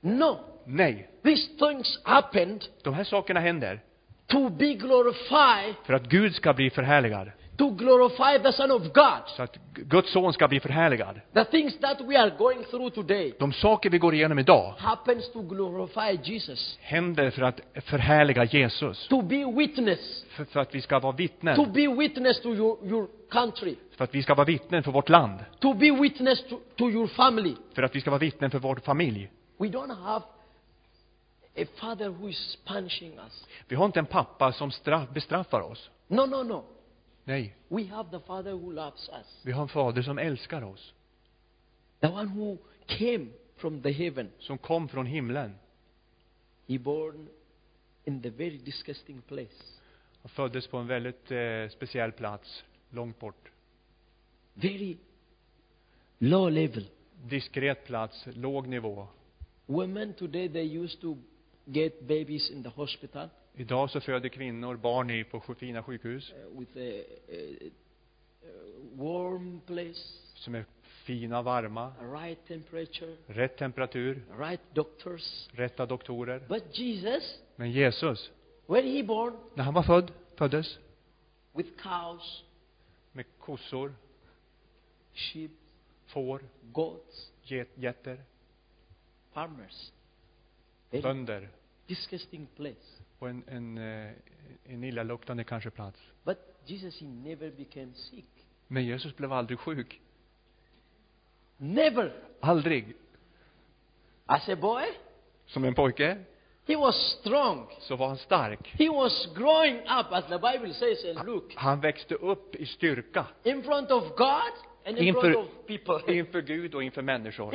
no.
nej.
These things happened
De här sakerna händer
to be glorified,
För att Gud ska bli förhärligad.
to glorify the Son of God.
Så att Guds son ska bli förhärligad.
The things that we are going through today
De saker vi går igenom idag
happens to glorify Jesus,
händer för att förhärliga Jesus.
to be witness,
För, för att vi ska vara
to
vittnen.
be witness to your, your country,
För att vi ska vara vittnen för vårt land.
to be witness to, to your family.
För att vi ska vara vittnen för vår familj.
We don't have a father who is punishing us.
Vi har inte en pappa som straff, bestraffar oss.
No, no, no.
Nej,
We have the father who loves us,
vi har en fader som älskar oss.
the one who came from the heaven.
Som kom från himlen.
He born in the very disgusting place,
Han föddes på en väldigt eh, speciell plats, långt bort.
very low level.
Diskret plats, låg nivå.
Women today they used to get babies in the hospital
Idag så föder kvinnor barn i på sj- fina sjukhus
uh, with a, a, a warm place,
som är fina, varma,
a right temperature,
rätt temperatur,
right doctors.
rätta doktorer.
But Jesus,
Men Jesus,
when he born
när han var född, föddes
with cows,
med kossor,
sheep,
får,
goats,
get- getter,
farmers, very
bönder
disgusting place.
och en, en, eh, en illaluktande kanske plats.
But Jesus, he never became sick.
Men Jesus blev aldrig sjuk.
Never.
Aldrig.
As a boy,
Som en pojke
he was strong.
så var han stark.
He was growing up, as the Bible says in Luke,
Han växte upp i styrka
in front of God and in
Inför-
front of people.
inför Gud och inför människor.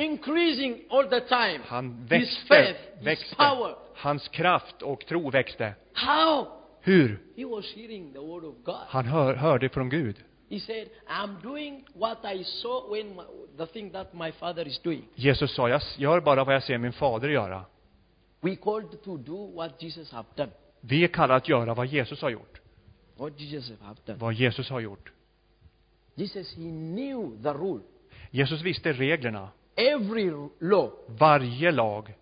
Increasing all the time.
Han
His faith,
växte,
his
växte.
power.
Hans kraft och tro växte.
How?
Hur?
He was hearing the word of God.
Han hör, hörde från Gud.
He said, I'm doing what I saw when my, the thing that my father is doing.
Jesus sa, jag gör bara vad jag ser min fader göra.
We called to do what Jesus have done.
Vi är kallade att göra vad Jesus har gjort.
What Jesus have done.
Vad Jesus har gjort.
Jesus, he knew the rule.
Jesus visste reglerna.
Every law.
Varje lag.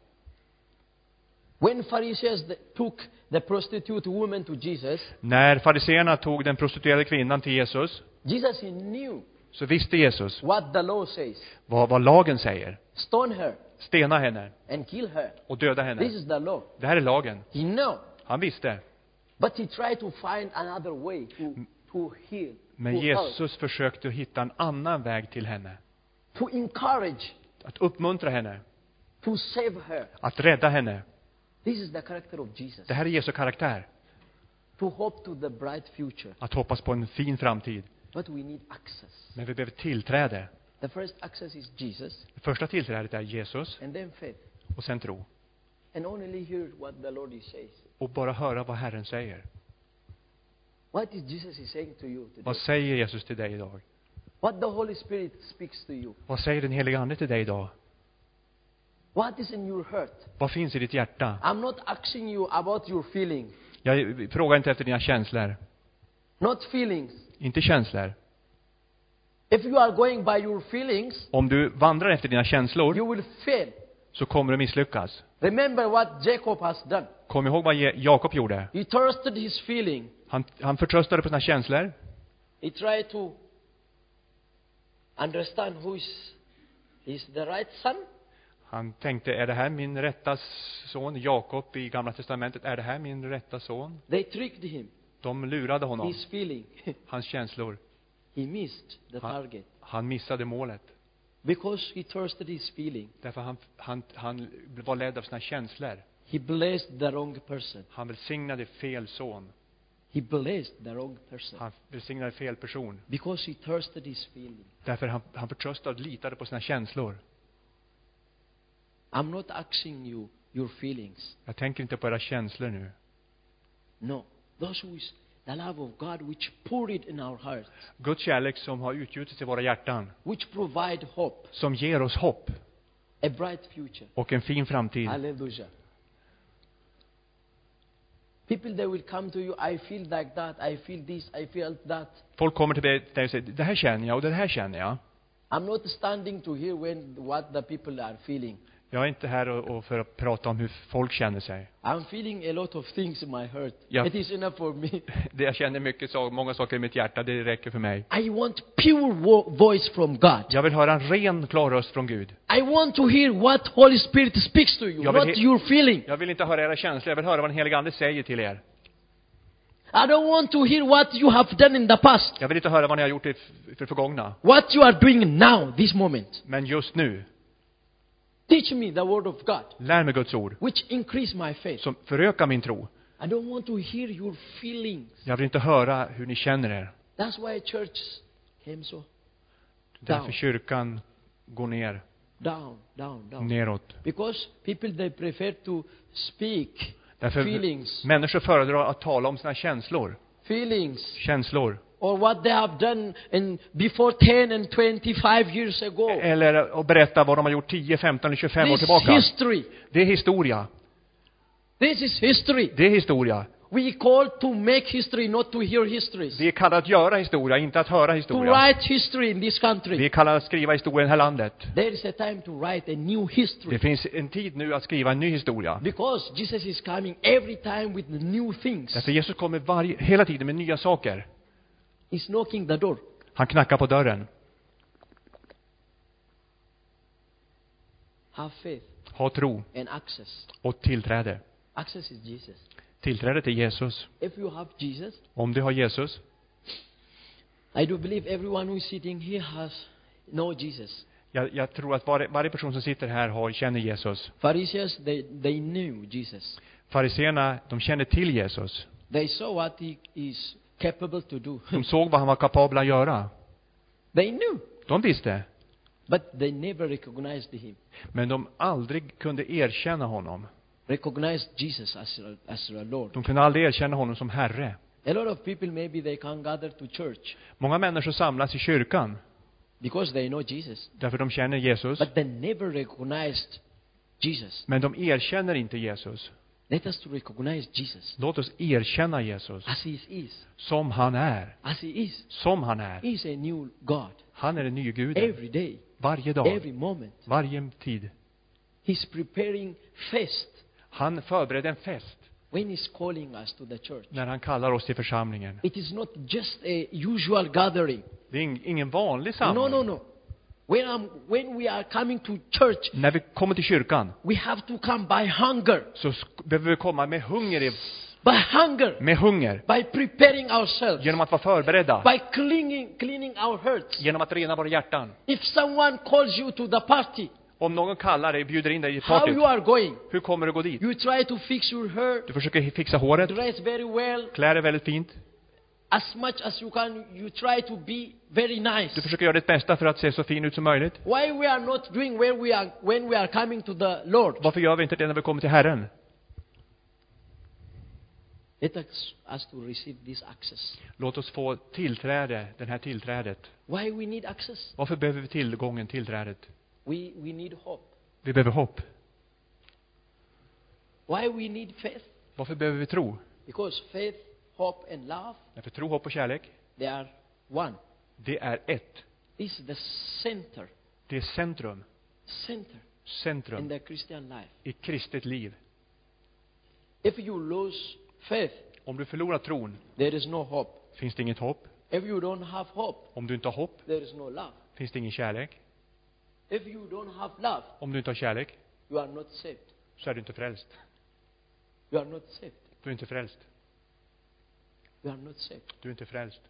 When Pharisees th- took the prostitute woman to Jesus,
När fariseerna tog den prostituerade kvinnan till Jesus,
Jesus he knew
så visste Jesus
what the law says.
vad, vad lagen säger.
Stone her
Stena henne
and kill her.
och döda
This
henne.
is the law.
Det här är lagen.
He know.
Han visste.
But he tried to find another way to, to heal,
Men
to help,
Jesus försökte hitta en annan väg till henne.
to encourage,
Att uppmuntra henne.
to save her.
Att rädda henne.
This is the character of Jesus.
Det här är Jesu karaktär.
To hope to the bright future.
Att hoppas på en fin framtid.
But we need access.
Men vi behöver tillträde.
The first access is Jesus
Det första tillträdet är Jesus
and then faith.
och sen tro.
And only hear what the Lord says.
Och bara höra vad Herren säger.
What is Jesus is saying to you today?
Vad säger Jesus till dig idag?
What the Holy Spirit speaks to you.
Vad säger den helige Ande till dig idag?
What is in your heart?
Vad finns i ditt hjärta?
I'm not asking you about your feeling.
Jag frågar inte efter dina känslor.
Not feelings.
Inte känslor.
If you are going by your feelings,
Om du vandrar efter dina känslor
you will fail.
så kommer du misslyckas.
Remember what Jacob has done.
Kom ihåg vad Je- Jakob gjorde.
He trusted his feeling.
Han, han förtröstade på sina känslor.
He tried to understand who is, is the right son.
Han tänkte, är det här min rätta son? Jakob i Gamla Testamentet, är det här min rätta son?
They tricked him.
De lurade honom,
His feeling.
hans känslor.
he missed the
Huh?
target
Han missade målet.
because he trusted his feeling.
Därför han, han, han var ledd av sina känslor.
He blessed the wrong person.
Han välsignade fel son.
He blessed the wrong person
Han välsignade fel person.
because he trusted his feeling.
Därför han, han förtröstade och litade på sina känslor.
I'm not asking you your feelings.
Jag tänker inte på era känslor nu.
No. Those who is the love of God which pour it in our hearts,
Guds kärlek som har utgjutits i våra hjärtan,
which provide hope,
som ger oss hopp
a bright future.
och en fin framtid.
Hallelujah. People they will come to you, I feel like that, I feel this, I feel that.
Folk kommer till dig till dig och säger, det här känner jag och det här känner jag.
I'm not standing to hear when what the people are feeling.
Jag är inte här och, och för att prata om hur folk känner sig.
I'm feeling a lot of things in my heart.
Yeah.
It is enough for me.
Det jag känner mycket, sa- många saker i mitt hjärta, det räcker för mig.
I want pure wo- voice from God.
Jag vill höra en ren, klar röst från Gud.
I want to hear what Holy Spirit speaks to you,
Jag vill
not
he-
your feeling.
Jag vill inte höra era känslor, jag vill höra vad den helige Ande säger till er.
I don't want to hear what you have done in the past,
Jag vill inte höra vad ni har gjort i f- för förgångna.
what you are doing now, this moment.
Men just nu,
Teach me the word of God,
lär mig Guds ord,
which increase my faith.
som förökar min tro.
I don't want to hear your feelings.
Jag vill inte höra hur ni känner er.
That's why church came so
Därför
Down.
kyrkan går ner,
down, down, down.
neråt.
Because people they prefer to speak
Därför
feelings,
människor föredrar att tala om sina känslor.
feelings,
Känslor.
or what they have done in before 10 and 25 years ago.
Eller att berätta vad de har gjort 10, 15 eller 25 år
This
tillbaka.
is history.
Det är historia.
This is history.
Det är historia.
We call to make history, not to hear histories.
Vi är kallade att göra historia, inte att höra
To
historia.
write history in this
Vi är
country.
kallade att skriva historia i det här landet.
There is a time to write a new
Det
history.
finns en tid nu att skriva en ny historia.
Because Jesus is coming every time with new things.
Därför Jesus kommer varje, hela tiden med nya saker.
He's knocking the door.
Han knackar på dörren.
Have faith
Ha tro
and access.
och tillträde.
Access is Jesus.
Tillträde till Jesus.
If you have Jesus,
Om du har Jesus.
I do believe everyone who is sitting here has know Jesus.
Jag, jag tror att varje, varje person som sitter här har, känner Jesus.
Pharisees, they, they knew Jesus.
Fariséerna, de kände till Jesus.
They saw what he is capable to do.
De såg vad han var kapabel att göra.
they knew,
De visste.
but they never recognized him.
Men de aldrig kunde erkänna honom.
Recognized Jesus as a- as a Lord.
De kunde aldrig erkänna honom som Herre.
A lot of people maybe they can't gather to church
Många människor samlas i kyrkan
because they know Jesus,
därför de känner Jesus.
but they never recognized Jesus.
Men de erkänner inte Jesus.
Let us to recognize Jesus
Låt oss erkänna Jesus
as he is,
som han är.
as he is.
Som han är.
He is a new God
Han är den nye guden.
every day,
Varje dag.
every moment.
Varje tid.
He's preparing feast
Han förberedde en fest
when he's calling us to the church.
när han kallar oss till församlingen.
It is not just a usual gathering.
Det är ing- ingen vanlig
No,
samling.
no, no. When, I'm, when we are coming to church,
När vi kommer till kyrkan
we have to come by hunger,
så sk- behöver vi komma med hunger, i,
by hunger,
med hunger.
by preparing ourselves,
Genom att vara förberedda.
by cleaning, cleaning our hearts.
Genom att rena våra hjärtan.
If someone calls you to the party,
Om någon kallar dig, bjuder in dig i
how
partyt.
you are going?
Hur kommer du gå dit?
You try to fix your hair,
Du försöker fixa håret,
dress very well,
klä dig väldigt fint.
as much as you can. You try to be very nice.
Du försöker göra ditt bästa för att se så fin ut som möjligt.
Why we are not doing where we are when we are coming to the Lord?
Varför gör vi inte det när vi kommer till Herren?
Let us, us to receive this access.
Låt oss få tillträde, den här tillträdet.
Why we need access?
Varför behöver vi tillgången, tillträdet?
We, we need hope.
Vi behöver hopp.
Why we need faith?
Varför behöver vi tro?
Because faith, hope, and love,
Därför tro, hopp och kärlek,
they are one.
det är ett.
This is the center,
Det är centrum.
center in
Centrum
the Christian life.
i kristet liv.
If you lose faith,
Om du förlorar tron,
there is no hope.
finns det inget hopp.
If you don't have hope,
Om du inte har hopp,
there is no love.
finns det ingen kärlek.
If you don't have love,
Om du inte har kärlek,
you are not saved.
så är du inte frälst.
You are not saved.
Du är inte frälst.
You are not saved.
Du är inte frälst.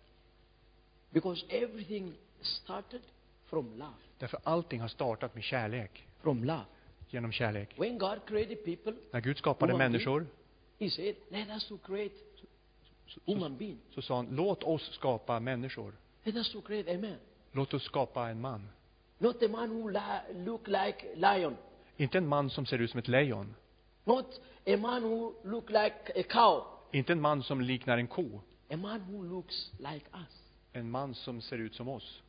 Because everything started from love.
Därför allting har startat med kärlek.
From love.
Genom kärlek.
When God created people,
När Gud skapade
Ovanför.
människor
He said, let us to create human being.
så sa han, låt oss skapa människor.
Let us to create a man.
Låt oss skapa en man.
Not a man who li- look like lion.
Inte en man som ser ut som ett lejon.
Not a man who look like a cow.
Inte en man som liknar en ko.
A man who looks like us.
En man som ser ut som oss.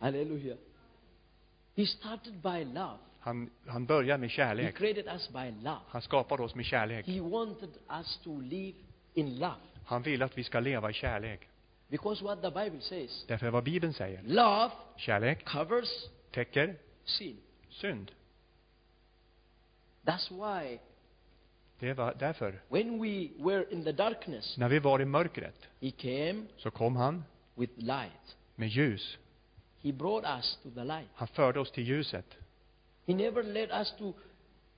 Hallelujah. He started by love.
Han, han börjar med
He
kärlek.
created us by love.
Han skapar oss med kärlek.
He wanted us to live in love.
Han vill att vi ska leva i kärlek.
Because what the Bible says,
Därför är vad Bibeln säger.
love
Kärlek
covers
täcker
sin.
synd.
That's why
Det var därför.
when we were in the darkness,
När vi var i mörkret
He came
så kom han
with light.
med ljus.
He brought us to the light.
Han förde oss till ljuset.
He never let us to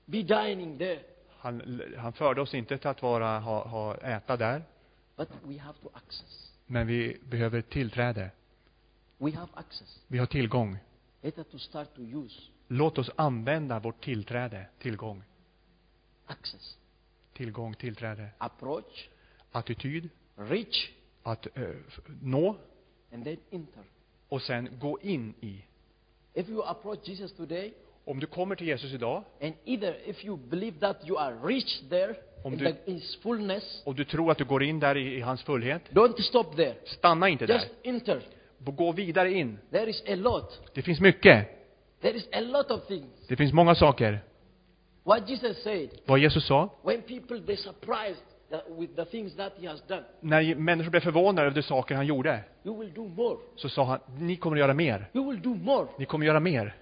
be dining there,
Han, han förde oss inte till att vara, ha, ha, äta där,
but we have to access.
men vi behöver tillträde.
We have access.
Vi har tillgång.
Let us to start to use
Låt oss använda vårt tillträde. Tillgång.
access.
Tillgång, tillträde.
Approach,
Attityd.
reach,
Att eh, f- nå
and then enter.
och sen gå in i.
If you approach Jesus today,
Om du kommer till Jesus idag
and either if you believe that you are rich there
Om
in,
du-
the, in His fullness,
och du tror att du går in där i, i hans fullhet,
don't stop there.
stanna inte
Just
där.
enter.
Gå vidare in.
There is a lot.
Det finns mycket.
There is a lot of things.
Det finns många saker.
What Jesus said,
Vad Jesus sa,
when people they surprised that with the things that He has done,
när människor blev förvånade över de saker han gjorde,
you will do more.
så sa han, ni kommer att göra mer.
You will do more
Ni kommer att göra mer.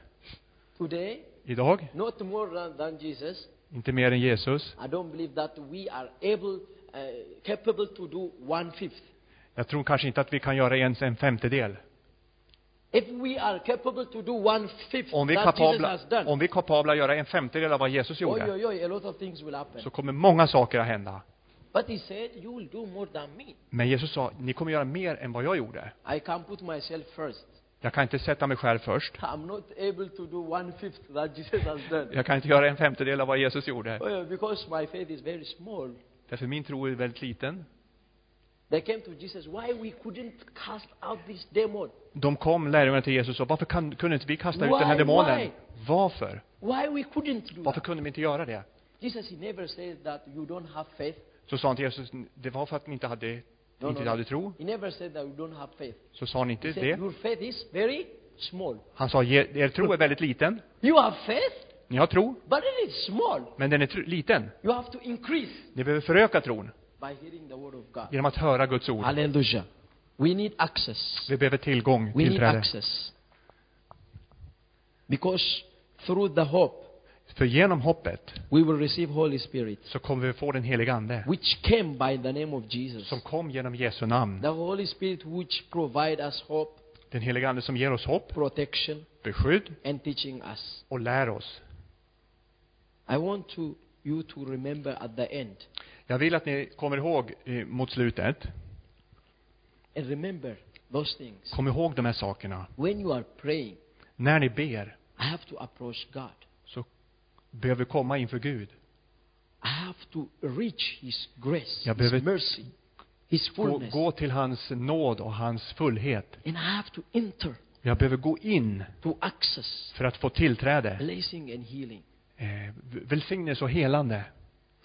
today,
Idag,
not more than, than Jesus.
inte mer än Jesus.
I don't believe that we are able, uh, capable to do one fifth.
Jag tror kanske inte att vi kan göra ens en femtedel.
If we are capable to do one fifth
Om vi är
that Jesus
kapabla,
has done,
om vi är kapabla att göra en femtedel av vad Jesus
oi,
gjorde,
oi, oi, a lot of things will happen.
så kommer många saker att hända.
But he said, You will do more than me.
Men Jesus sa, ni kommer att göra mer än vad jag gjorde.
I can put myself first.
Jag kan inte sätta mig själv först.
I'm not able to do one fifth that Jesus has done.
Jag kan inte göra en femtedel av vad Jesus gjorde.
Oh, yeah, because my faith is very small.
Därför min tro är väldigt liten.
They came to Jesus, Why we couldn't cast out this demon?
De kom, lärjungarna till Jesus, och varför kan, kunde inte vi kasta ut den här
Why?
demonen?
Why?
Varför?
Why we couldn't do
Varför
that?
kunde de inte göra det?
Jesus, he never said that you don't have faith.
Så sa han till Jesus, det var för att ni inte hade,
No,
inte
no, no.
hade tro.
He never said that you don't have faith.
Så sa han inte
He said,
det.
Your faith is very small.
Han sa, "Er- er tro är väldigt liten.
You have faith,
Ni har tro,
but it is small.
men den är tr- liten.
You have to increase
Ni behöver föröka tron
by hearing the word of God.
genom att höra Guds ord.
Hallelujah. We need access.
Vi behöver tillgång,
We need
tillträde.
access. Because through the hope,
För genom hoppet
we will receive Holy Spirit,
så kommer vi få den heliga Ande
which came by the name of Jesus.
som kom genom Jesu namn.
The Holy Spirit which provide us hope,
Den heliga Ande som ger oss hopp,
protection,
beskydd
and teaching us.
och lär oss.
I want to, you to remember at the end,
Jag vill att ni kommer ihåg eh, mot slutet,
and remember those things.
kom ihåg de här sakerna.
When you are praying,
När ni ber
I have to approach God.
så behöver vi komma inför Gud.
I have to reach His grace,
Jag
His
behöver-
mercy, His
Gå,
fullness.
gå till hans nåd och hans fullhet.
And I have to enter
Jag behöver gå in
to access
för att få tillträde.
blessing and healing.
Eh, välsignelse och helande.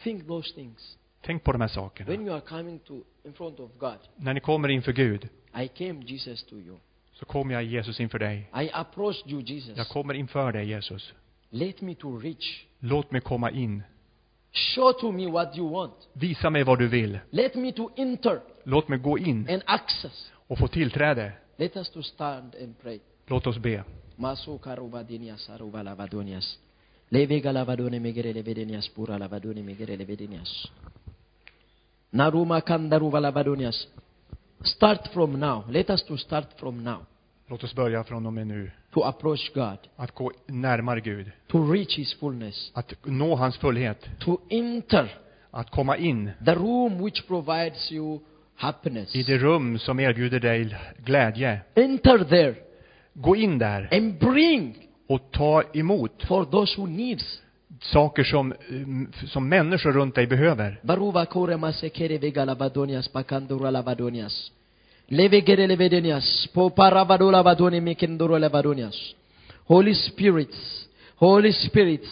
Think those things.
Tänk på de här sakerna.
When you are coming to in front of God,
När ni kommer inför Gud
I came Jesus to you.
så kommer jag Jesus inför dig.
I approached you, Jesus.
Jag kommer inför dig Jesus.
Let me to reach.
Låt mig komma in.
Show to me what you want.
Visa mig vad du vill.
Let me to enter
Låt mig gå in
and access.
och få tillträde.
Let us to stand and pray.
Låt oss be.
Maso karubadinias aruba lavadonias. Levega lavadone megere levedenias pura lavadone megere levedenias. Naruma kandaruva lavadonias. Start from now. Let us to start from now
Låt oss börja från och med nu.
to approach God,
Att gå närmare Gud.
to reach His fullness,
Att nå hans fullhet.
to enter
Att komma in
the room which provides you happiness.
i det rum som erbjuder dig glädje.
Enter there
Gå in där
and bring
och ta emot
for those who needs.
saker som, eh, som människor runt dig behöver.
Baruva kore masekere vega lavadonias pakandura lavadonias. Levegere levedenias. Poparavado lavadoni mekendoro lavadonias. Holy Spirit, Holy Spirit,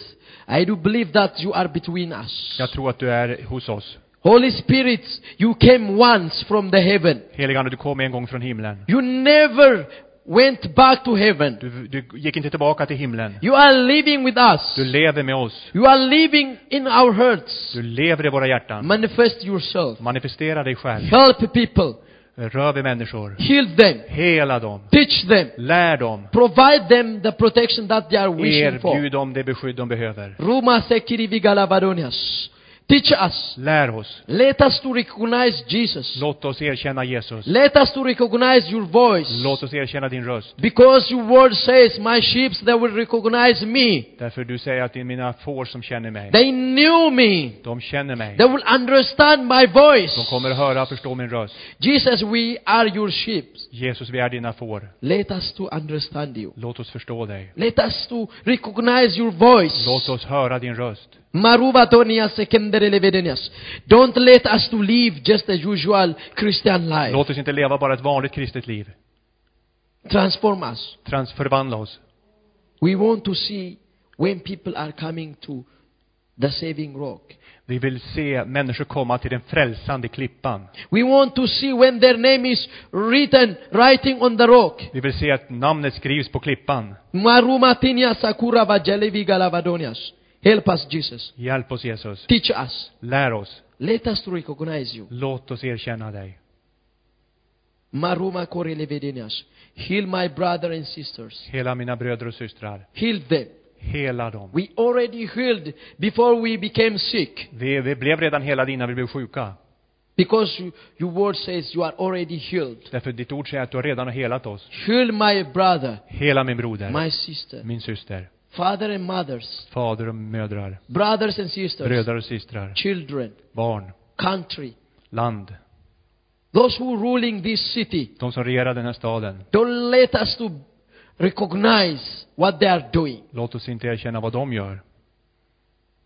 I do believe that you are between us.
Jag tror att du är hos oss.
Holy Spirit, you came once from the heaven.
Helige Ande, du kom en gång från himlen.
You never went back to heaven.
Du, du gick inte tillbaka till himlen.
You are living with us.
Du lever med oss.
You are living in our hearts.
Du lever i våra hjärtan.
Manifest yourself.
Manifestera dig själv.
Help people.
Rör vid människor.
Heal them.
Hela dem.
Teach them.
Lär dem.
Provide them the protection that they are wishing for.
Erbjud dem det beskydd de behöver.
Ruma sekiri vigalavadonias. Teach us.
Lär oss.
Let us to recognize Jesus.
Låt oss erkänna Jesus.
Let us to recognize your voice.
Låt oss erkänna din röst.
Because your word says, my sheep, they will recognize me.
Därför du säger att det är mina får som känner mig.
They knew me.
De känner mig.
They will understand my voice.
De kommer höra och förstå min röst.
Jesus, we are your sheep.
Jesus, vi är dina får.
Let us to understand you.
Låt oss förstå dig.
Let us to recognize your voice.
Låt oss höra din röst.
Maruvatonias sekenderelevedenias. Don't let us to live just the usual Christian life.
Låt oss inte leva bara ett vanligt kristet liv.
Transform us.
Trans- förvandla oss.
We want to see when people are coming to the saving rock.
Vi vill se människor komma till den frälsande klippan.
We want to see when their name is written, writing on the rock.
Vi vill se att namnet skrivs på klippan.
Marumatinia sakura vajelevi galavadonias. Help us, Jesus.
Hjälp oss Jesus.
Teach us.
Lär oss.
Let us to recognize you.
Låt oss erkänna dig.
Maruma korelevedenias. Heal my brother and sisters.
Hela mina bröder och systrar.
Heal them.
Hela dem.
We already healed before we became sick.
Vi, vi blev redan helade innan vi blev sjuka.
Because you, your word says you are already healed.
Därför ditt ord säger att du redan har helat oss.
Heal my brother,
Hela min broder.
my sister,
Min syster.
father and mothers,
Fader och mödrar.
brothers and sisters,
Bröder och systrar.
children,
Barn.
country,
Land.
those who ruling this city.
De som regerar den här staden.
Don't let us to recognize what they are doing.
Låt oss inte erkänna vad de gör.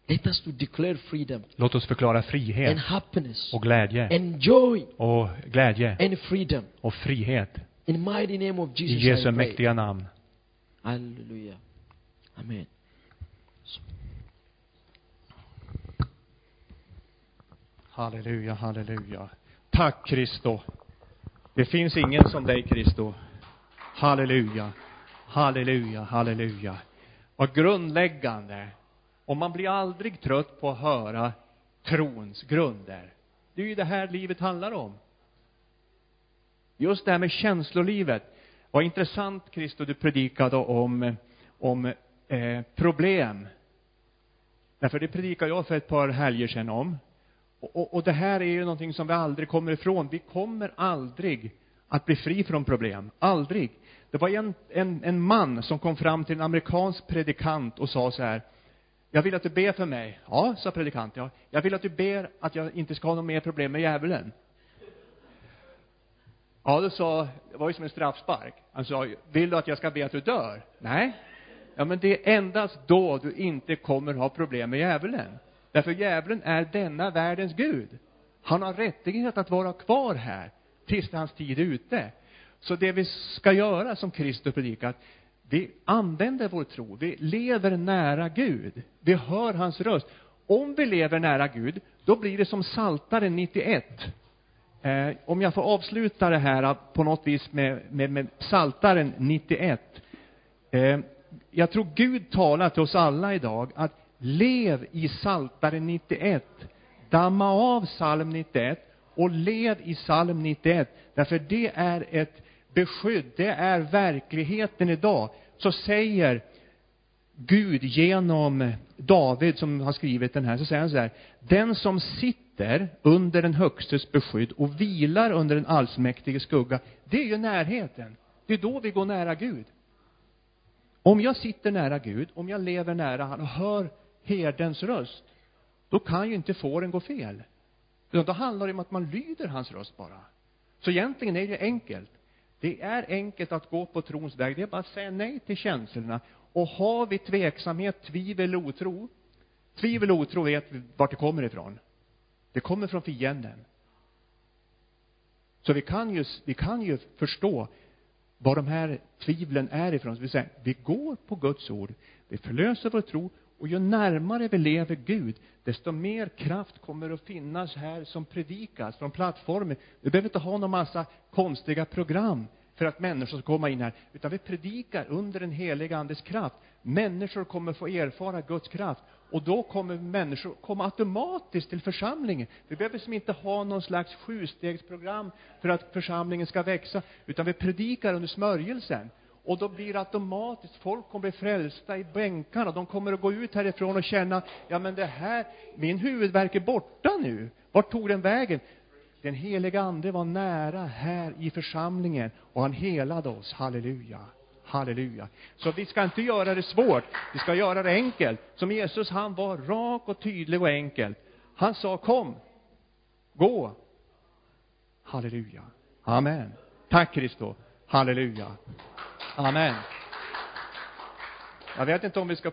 Let us to declare freedom
Låt oss förklara
and
frihet
happiness
och glädje.
and joy
Och glädje
and freedom.
och frihet.
In mighty name of
I
Jesus
Jesu
I pray.
mäktiga namn.
Hallelujah. Amen.
Halleluja, halleluja. Tack Kristo. Det finns ingen som dig Kristo. Halleluja, halleluja, halleluja. Vad grundläggande. Och man blir aldrig trött på att höra trons grunder. Det är ju det här livet handlar om. Just det här med känslolivet. Vad intressant Kristo, du predikade om, om eh, problem. Därför det predikade jag för ett par helger sedan om. Och, och, och det här är ju någonting som vi aldrig kommer ifrån. Vi kommer aldrig att bli fri från problem. Aldrig. Det var en, en, en man som kom fram till en amerikansk predikant och sa så här. Jag vill att du ber för mig. Ja, sa predikanten. Ja. Jag vill att du ber att jag inte ska ha något mer problem med djävulen. Ja, då sa, det var ju som en straffspark. Han sa, vill du att jag ska be att du dör? Nej. Ja, men det är endast då du inte kommer ha problem med djävulen. Därför djävulen är denna världens gud. Han har rättighet att vara kvar här tills hans tid är ute. Så det vi ska göra som Kristus predikar, att vi använder vår tro, vi lever nära Gud, vi hör hans röst. Om vi lever nära Gud, då blir det som Saltaren 91. Eh, om jag får avsluta det här eh, på något vis med, med, med Saltaren 91. Eh, jag tror Gud talar till oss alla idag att lev i Saltaren 91. Damma av psalm 91 och lev i psalm 91. Därför det är ett beskydd, det är verkligheten idag. Så säger Gud genom David som har skrivit den här, så säger han så här. Den som sitter under den högstes beskydd och vilar under den allsmäktiges skugga, det är ju närheten. Det är då vi går nära Gud. Om jag sitter nära Gud, om jag lever nära han och hör herdens röst, då kan ju inte fåren gå fel. Utan då handlar det om att man lyder hans röst bara. Så egentligen är det enkelt. Det är enkelt att gå på trons väg. Det är bara att säga nej till känslorna. Och har vi tveksamhet, tvivel och otro, tvivel och otro vet vi vart det kommer ifrån. Det kommer från fienden. Så vi kan ju, vi kan ju förstå var de här tvivlen är ifrån. Så vi säger, vi går på Guds ord, vi förlöser vår tro och ju närmare vi lever Gud, desto mer kraft kommer att finnas här som predikas från plattformen. Vi behöver inte ha någon massa konstiga program för att människor ska komma in här, utan vi predikar under den heliga Andes kraft. Människor kommer få erfara Guds kraft Och då kommer människor komma automatiskt till församlingen. Vi behöver som inte ha någon slags sjustegsprogram för att församlingen ska växa, utan vi predikar under smörjelsen. Och då blir det automatiskt, folk kommer bli frälsta i bänkarna, de kommer att gå ut härifrån och känna, ja men det här, min huvudvärk är borta nu. Vart tog den vägen? Den heliga Ande var nära här i församlingen och han helade oss. Halleluja. Halleluja. Så vi ska inte göra det svårt, vi ska göra det enkelt. Som Jesus, han var rak och tydlig och enkel. Han sa kom, gå. Halleluja. Amen. Tack Kristo. Halleluja. Amen. Jag vet inte om vi ska